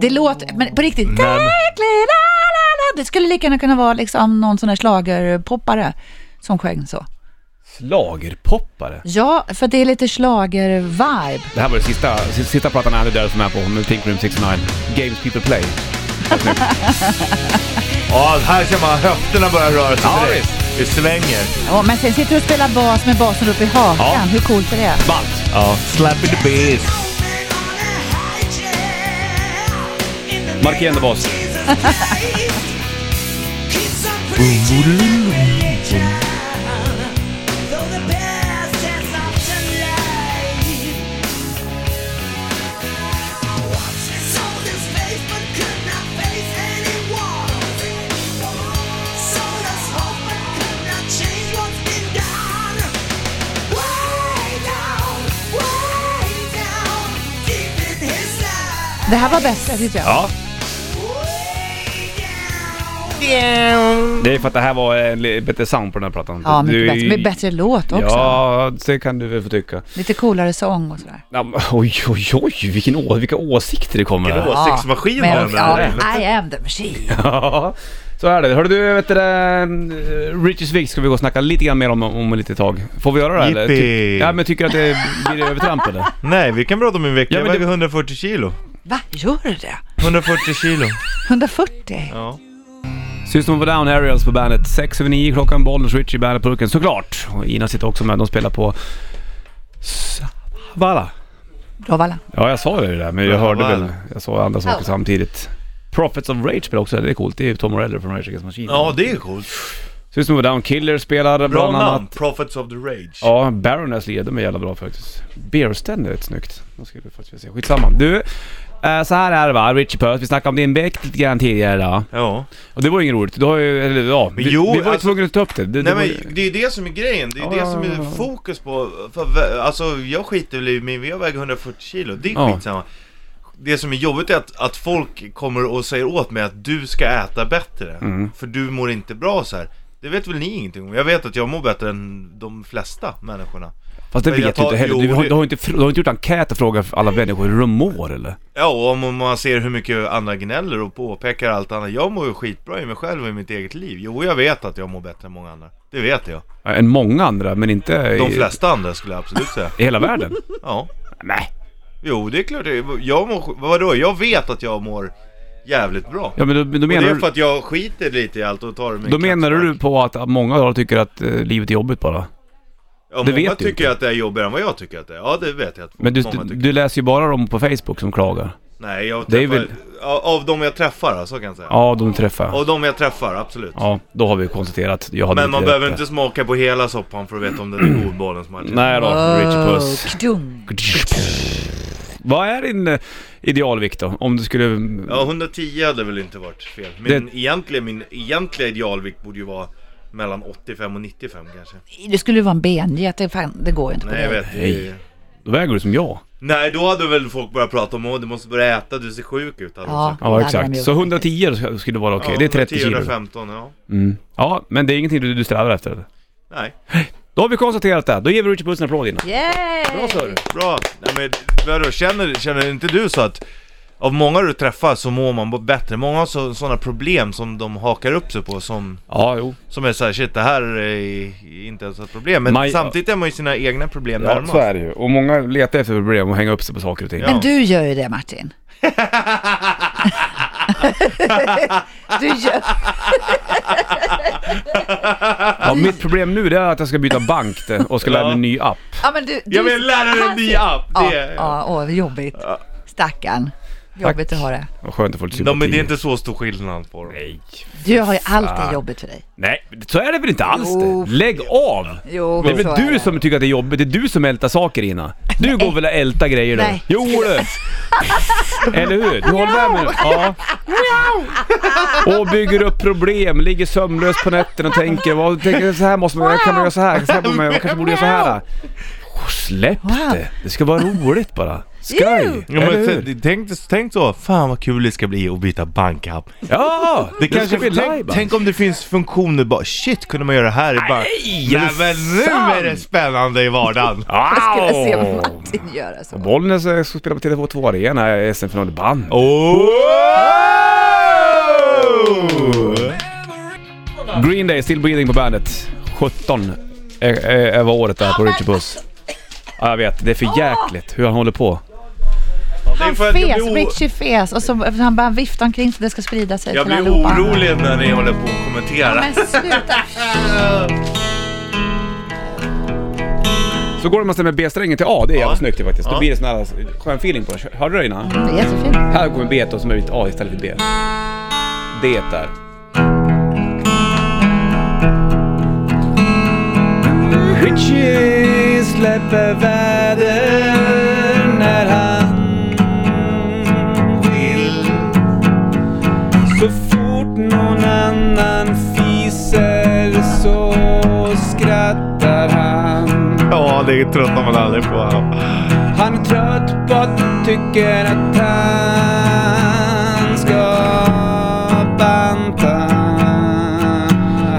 [SPEAKER 3] Det låter, men på riktigt,
[SPEAKER 2] Men-
[SPEAKER 3] Tackling, la, la, la. det skulle lika gärna kunna vara liksom någon sån här schlagerpoppare som sjöng så.
[SPEAKER 1] Slagerpoppare.
[SPEAKER 3] Ja, för det är lite schlager-vibe.
[SPEAKER 1] Det här var den sista, sista plattan Andy Dell som är på med Pink Room 69. Games People Play.
[SPEAKER 2] Ja, här ser man höfterna börja röra sig
[SPEAKER 1] Ja,
[SPEAKER 2] direkt. Det svänger.
[SPEAKER 3] Ja, men sen sitter du och spelar bas med basen uppe i hakan.
[SPEAKER 1] Ja.
[SPEAKER 3] Hur coolt är det?
[SPEAKER 1] Ballt!
[SPEAKER 2] Ja. Slap in the bass.
[SPEAKER 1] Mark igen the boss.
[SPEAKER 4] Change what's been done. Way down, way down, deep in his life.
[SPEAKER 3] Det här var bättre tyckte jag.
[SPEAKER 1] Ja,
[SPEAKER 4] Way down.
[SPEAKER 1] det är för att det här var en li- bättre sound på den här plattan.
[SPEAKER 3] Ja, mycket
[SPEAKER 1] Du-
[SPEAKER 3] bättre. Med bättre låt också.
[SPEAKER 1] Ja, det kan du väl få tycka.
[SPEAKER 3] Lite coolare sång och sådär.
[SPEAKER 1] Ja, men Oj, oj, oj, vilken å, vilka åsikter det kommer.
[SPEAKER 2] Vilken
[SPEAKER 1] här.
[SPEAKER 2] å- Åsiktsmaskin
[SPEAKER 3] men-
[SPEAKER 2] var den
[SPEAKER 3] ja,
[SPEAKER 2] där.
[SPEAKER 3] I am the machine.
[SPEAKER 1] [laughs] Ja, så är det. Hörru du, vet du, eh, Richies Vick ska vi gå och snacka lite grann mer om om lite tag. Får vi göra det eller?
[SPEAKER 2] Yippee.
[SPEAKER 1] ja, men tycker du att det blir övertramp eller?
[SPEAKER 2] Nej, vi kan prata om en vecka.
[SPEAKER 1] Ja,
[SPEAKER 2] Jag
[SPEAKER 1] men
[SPEAKER 2] väger
[SPEAKER 1] det-
[SPEAKER 2] 140 kilo.
[SPEAKER 3] Va, gör du det?
[SPEAKER 2] 140 kilo.
[SPEAKER 3] 140?
[SPEAKER 2] Ja.
[SPEAKER 1] System of a Down Aerials på bandet. 6 över 9 klockan, Bollnäs Richie i bandetburken såklart. Och Ina sitter också med, de spelar på Savala.
[SPEAKER 3] Bra
[SPEAKER 1] Ja, jag sa det ju där, men jag hörde
[SPEAKER 2] Zavala.
[SPEAKER 1] väl, jag sa andra saker samtidigt. Prophets of Rage spelar också, det är coolt. Det är ju Tom Morello från Rage Against the Machine.
[SPEAKER 2] ja, det är coolt.
[SPEAKER 1] System of a Down Killer spelar
[SPEAKER 2] Bra
[SPEAKER 1] bland annat.
[SPEAKER 2] namn. Prophets of the Rage.
[SPEAKER 1] Ja, Baroness leder de är jävla bra faktiskt. Bearstand är rätt snyggt. De skulle vi faktiskt vilja se. Skitsamma. Du, eh, så här är det va, Richie Puss. Vi snackade om din bäck lite grann tidigare. då.
[SPEAKER 2] Ja.
[SPEAKER 1] Och det var ju inget roligt. Du har ju, eller ja. Vi,
[SPEAKER 2] Jo,
[SPEAKER 1] vi var ju
[SPEAKER 2] alltså-
[SPEAKER 1] tvungna att ta upp det. det,
[SPEAKER 2] Nej
[SPEAKER 1] det var, ju- Ah.
[SPEAKER 2] men det är det som är grejen, det är
[SPEAKER 1] Ja,
[SPEAKER 2] det som
[SPEAKER 1] ja, ja, ja.
[SPEAKER 2] är fokus på. För, vä- alltså jag skiter väl i min, jag väger 140 kilo, det är
[SPEAKER 1] Ja.
[SPEAKER 2] skitsamma. Det som är jobbigt är att, att folk kommer och säger åt mig att du ska äta bättre,
[SPEAKER 1] Mm.
[SPEAKER 2] för du mår inte bra så här. Det vet väl ni ingenting om? Jag vet att jag mår bättre än de flesta människorna.
[SPEAKER 1] Fast det
[SPEAKER 2] men jag
[SPEAKER 1] vet du
[SPEAKER 2] tar-
[SPEAKER 1] inte heller. Du,
[SPEAKER 2] jo,
[SPEAKER 1] har,
[SPEAKER 2] det-
[SPEAKER 1] du, har inte, fr- du har inte gjort enkät och frågat alla människor hur de mår eller?
[SPEAKER 2] Ja, och om man ser hur mycket andra gnäller och påpekar allt annat. Jag mår ju skitbra i mig själv och i mitt eget liv. Jo, jag vet att jag mår bättre än många andra. Det vet jag.
[SPEAKER 1] Ja, Än många andra, men inte
[SPEAKER 2] De
[SPEAKER 1] i,
[SPEAKER 2] flesta andra skulle jag absolut säga.
[SPEAKER 1] i hela
[SPEAKER 2] [laughs]
[SPEAKER 1] världen.
[SPEAKER 2] Ja.
[SPEAKER 1] Nej.
[SPEAKER 2] Jo, det är klart. jag- Jag mår, vadå? Jag vet att jag mår jävligt bra.
[SPEAKER 1] Ja men då, då
[SPEAKER 2] och det
[SPEAKER 1] menar
[SPEAKER 2] är
[SPEAKER 1] du...
[SPEAKER 2] för att jag skiter lite i allt och tar det med
[SPEAKER 1] Då
[SPEAKER 2] en
[SPEAKER 1] menar
[SPEAKER 2] klackspark.
[SPEAKER 1] du på att många av dem tycker att eh, livet är jobbigt bara?
[SPEAKER 2] Ja,
[SPEAKER 1] Det
[SPEAKER 2] många
[SPEAKER 1] vet du
[SPEAKER 2] tycker
[SPEAKER 1] inte.
[SPEAKER 2] att det är jobbigare än vad jag tycker att det är. Ja, det vet jag att
[SPEAKER 1] Men du,
[SPEAKER 2] många tycker.
[SPEAKER 1] du läser ju bara dem på Facebook som klagar.
[SPEAKER 2] Nej, jag
[SPEAKER 1] Det är
[SPEAKER 2] träffar...
[SPEAKER 1] väl-
[SPEAKER 2] Av, av de jag träffar, ja, så kan jag säga.
[SPEAKER 1] Ja, de träffar jag.
[SPEAKER 2] Av de jag träffar, absolut.
[SPEAKER 1] Ja, då har vi konstaterat. Jag hade
[SPEAKER 2] Men man
[SPEAKER 1] lite
[SPEAKER 2] behöver
[SPEAKER 1] rätt
[SPEAKER 2] inte smaka på hela soppan för att veta om den är god, bollen som
[SPEAKER 1] där. Nej då,
[SPEAKER 3] Ah,
[SPEAKER 1] Richie Puss.
[SPEAKER 3] kdung.
[SPEAKER 1] Vad är din eh, idealvikt då? Om du skulle...
[SPEAKER 2] Ja, 110 hade väl inte varit fel. Min, egentliga, min egentliga idealvikt borde ju vara mellan 85 och 95 kanske.
[SPEAKER 3] Det skulle ju vara en benget, det, fan, det går ju inte på
[SPEAKER 2] Nej, jag
[SPEAKER 3] dig.
[SPEAKER 2] vet.
[SPEAKER 1] Nej.
[SPEAKER 2] det är-
[SPEAKER 1] Då väger du som jag.
[SPEAKER 2] Nej, då hade väl folk börjat prata om att du måste börja äta, du ser sjuk ut. hade de
[SPEAKER 3] Ja.
[SPEAKER 2] sagt.
[SPEAKER 1] Ja,
[SPEAKER 3] det hade de
[SPEAKER 1] exakt.
[SPEAKER 3] gjort
[SPEAKER 1] Så 110 sk- skulle vara okej. det är 30 kilo.
[SPEAKER 2] 115, ja.
[SPEAKER 1] Mm. Ja, men det är ingenting du, du strävar efter? eller?
[SPEAKER 2] Nej,
[SPEAKER 1] Då har vi konstaterat det. Då ger vi Richie Puss en applåd in.
[SPEAKER 3] Yay!
[SPEAKER 1] Bra Sörre.
[SPEAKER 2] bra. Nej, men vadå, känner, känner inte du så att av många du träffar så mår man bättre? Många har sådana problem som de hakar upp sig på som
[SPEAKER 1] Ja, jo.
[SPEAKER 2] Som är såhär, shit det här är inte ens ett problem. Men
[SPEAKER 1] Maj-
[SPEAKER 2] samtidigt är man ju sina egna problem
[SPEAKER 1] Ja,
[SPEAKER 2] närmast.
[SPEAKER 1] så är det ju. Och många letar efter problem och hänger upp sig på saker och ting.
[SPEAKER 2] Ja.
[SPEAKER 3] Men du gör ju
[SPEAKER 2] [laughs]
[SPEAKER 3] det Martin. du gör...
[SPEAKER 1] Ja, mitt problem nu det är att jag ska byta bank det, och ska lära mig en ny app.
[SPEAKER 3] Ja, men du, du...
[SPEAKER 2] Jag vill lära dig en ny app,
[SPEAKER 3] Ja,
[SPEAKER 2] det är-
[SPEAKER 3] ja, åh, vad jobbigt. Stackarn. Jobbigt att ha det.
[SPEAKER 1] Vad skönt att få lite
[SPEAKER 2] De,
[SPEAKER 1] sympati.
[SPEAKER 2] men det är inte så stor skillnad på dem.
[SPEAKER 1] Nej.
[SPEAKER 3] Du har ju alltid jobbigt för dig.
[SPEAKER 1] Nej, så är det väl inte alls
[SPEAKER 3] Jo.
[SPEAKER 1] det? Lägg av!
[SPEAKER 3] Jo,
[SPEAKER 1] Det är
[SPEAKER 3] så
[SPEAKER 1] väl du som tycker att det är jobbigt, det är du som ältar saker Ina. Du går väl och ältar grejer då?
[SPEAKER 3] Nej.
[SPEAKER 1] Jo du! Eller hur? Du håller med mig nu? Ja. Och bygger upp problem, ligger sömnlös på nätterna och tänker, vad, tänker så här måste man göra, kan man göra så här, så här borde man göra, man kanske borde göra så här. Släpp
[SPEAKER 3] Wow.
[SPEAKER 1] det! Det ska vara roligt bara. Skoj!
[SPEAKER 2] Ja, men
[SPEAKER 1] Eller
[SPEAKER 2] t-
[SPEAKER 1] hur?
[SPEAKER 2] t- tänk, tänk så, fan vad kul det ska bli att byta bankapp.
[SPEAKER 1] Ja!
[SPEAKER 2] Det
[SPEAKER 1] ska
[SPEAKER 2] kanske,
[SPEAKER 1] bli
[SPEAKER 2] tänk,
[SPEAKER 1] live
[SPEAKER 2] tänk om det finns funktioner bara, shit kunde man göra det här i bara...
[SPEAKER 1] Nej,
[SPEAKER 2] Ja
[SPEAKER 1] är
[SPEAKER 2] men nu
[SPEAKER 1] sant?
[SPEAKER 2] är det spännande i [laughs] vardagen!
[SPEAKER 3] Jag skulle se
[SPEAKER 1] Au.
[SPEAKER 3] Martin göra så.
[SPEAKER 1] Bollnäs eh, ska spela på Tele2 2 Arena i SM-final i band.
[SPEAKER 2] Oh!
[SPEAKER 1] Green Day, Still Breathing på bandet. 17 är, är, är vad året är på Richie Puss. Ja, jag vet. Det är för jäkligt hur han håller på.
[SPEAKER 2] Det är
[SPEAKER 3] Han
[SPEAKER 2] för att jag
[SPEAKER 3] fes,
[SPEAKER 2] blir o-
[SPEAKER 3] Richie fes och så han bara viftar omkring så det ska sprida sig
[SPEAKER 2] Jag
[SPEAKER 3] till
[SPEAKER 2] blir
[SPEAKER 3] allihopa.
[SPEAKER 2] orolig när ni håller på och kommenterar.
[SPEAKER 3] Men sluta.
[SPEAKER 1] Så går det man stämmer B-strängen till A, det är jävligt
[SPEAKER 2] Ja.
[SPEAKER 1] snyggt det faktiskt. Då
[SPEAKER 2] Ja.
[SPEAKER 1] blir det sån här skön feeling på det. Hörde du det innan?
[SPEAKER 3] Det är jättefint.
[SPEAKER 1] Här kommer B då som är ett A istället för B. Det där. Richie släpper världen när han vill. Så fort någon annan fiser så skrattar han.
[SPEAKER 2] Ja, det tröttnar man aldrig på.
[SPEAKER 1] Han är trött på att du tycker att han ska banta.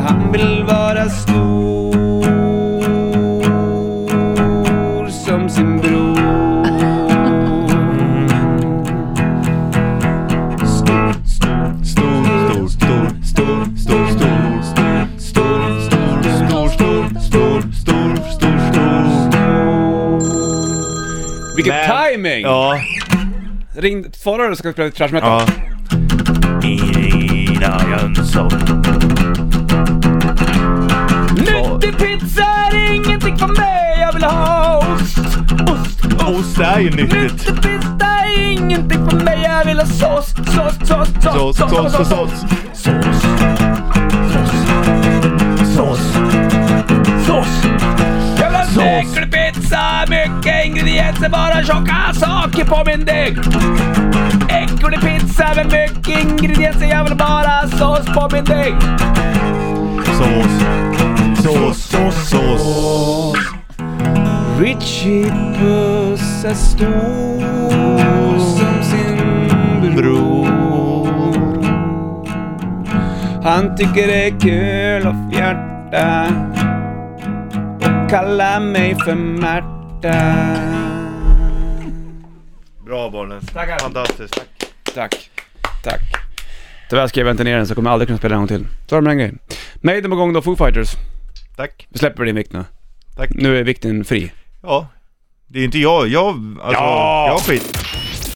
[SPEAKER 1] Han vill vara stor som sin bror. Stor, stor,
[SPEAKER 2] Stor, stor, stor, stor, stor, stor, stor, stor, stor, stor, stor, stor, stor, stor, stor.
[SPEAKER 1] Vilken
[SPEAKER 2] Men-
[SPEAKER 1] timing!
[SPEAKER 2] Ja,
[SPEAKER 1] Ring svarare så ska vi spela lite trash metal.
[SPEAKER 2] ja. Ina Jönsson.
[SPEAKER 1] Nyttig pizza är ingenting för mig, jag vill ha ost.
[SPEAKER 2] Ost är ju nyttigt.
[SPEAKER 1] Nyttigt är ingenting för mig, jag vill ha sås, sås, sås,
[SPEAKER 2] Sås, sås, sås, sås.
[SPEAKER 1] sås. Sås. Jag vill ha äckelpizza, mycket ingredienser, bara tjocka saker på min deg. Äcklig pizza med mycket ingredienser, jag vill bara ha sås på min deg.
[SPEAKER 2] Sås. Sås, sås, sås.
[SPEAKER 1] Richie Puss är stor som sin bror. Han tycker det är kul att fjärta och kallar mig för Märta.
[SPEAKER 2] Bra bollen. Fantastiskt. Tack.
[SPEAKER 1] Tack. Tack. Tyvärr skrev jag inte ner den så jag kommer aldrig kunna spela den en gång till. Så har de den grejen. Maiden på gång då, Foo Fighters.
[SPEAKER 2] Tack.
[SPEAKER 1] Vi släpper din vikt nu.
[SPEAKER 2] Tack.
[SPEAKER 1] Nu är vikten fri.
[SPEAKER 2] Ja. Det är inte jag. Jag, alltså,
[SPEAKER 1] Ja.
[SPEAKER 2] jag skit.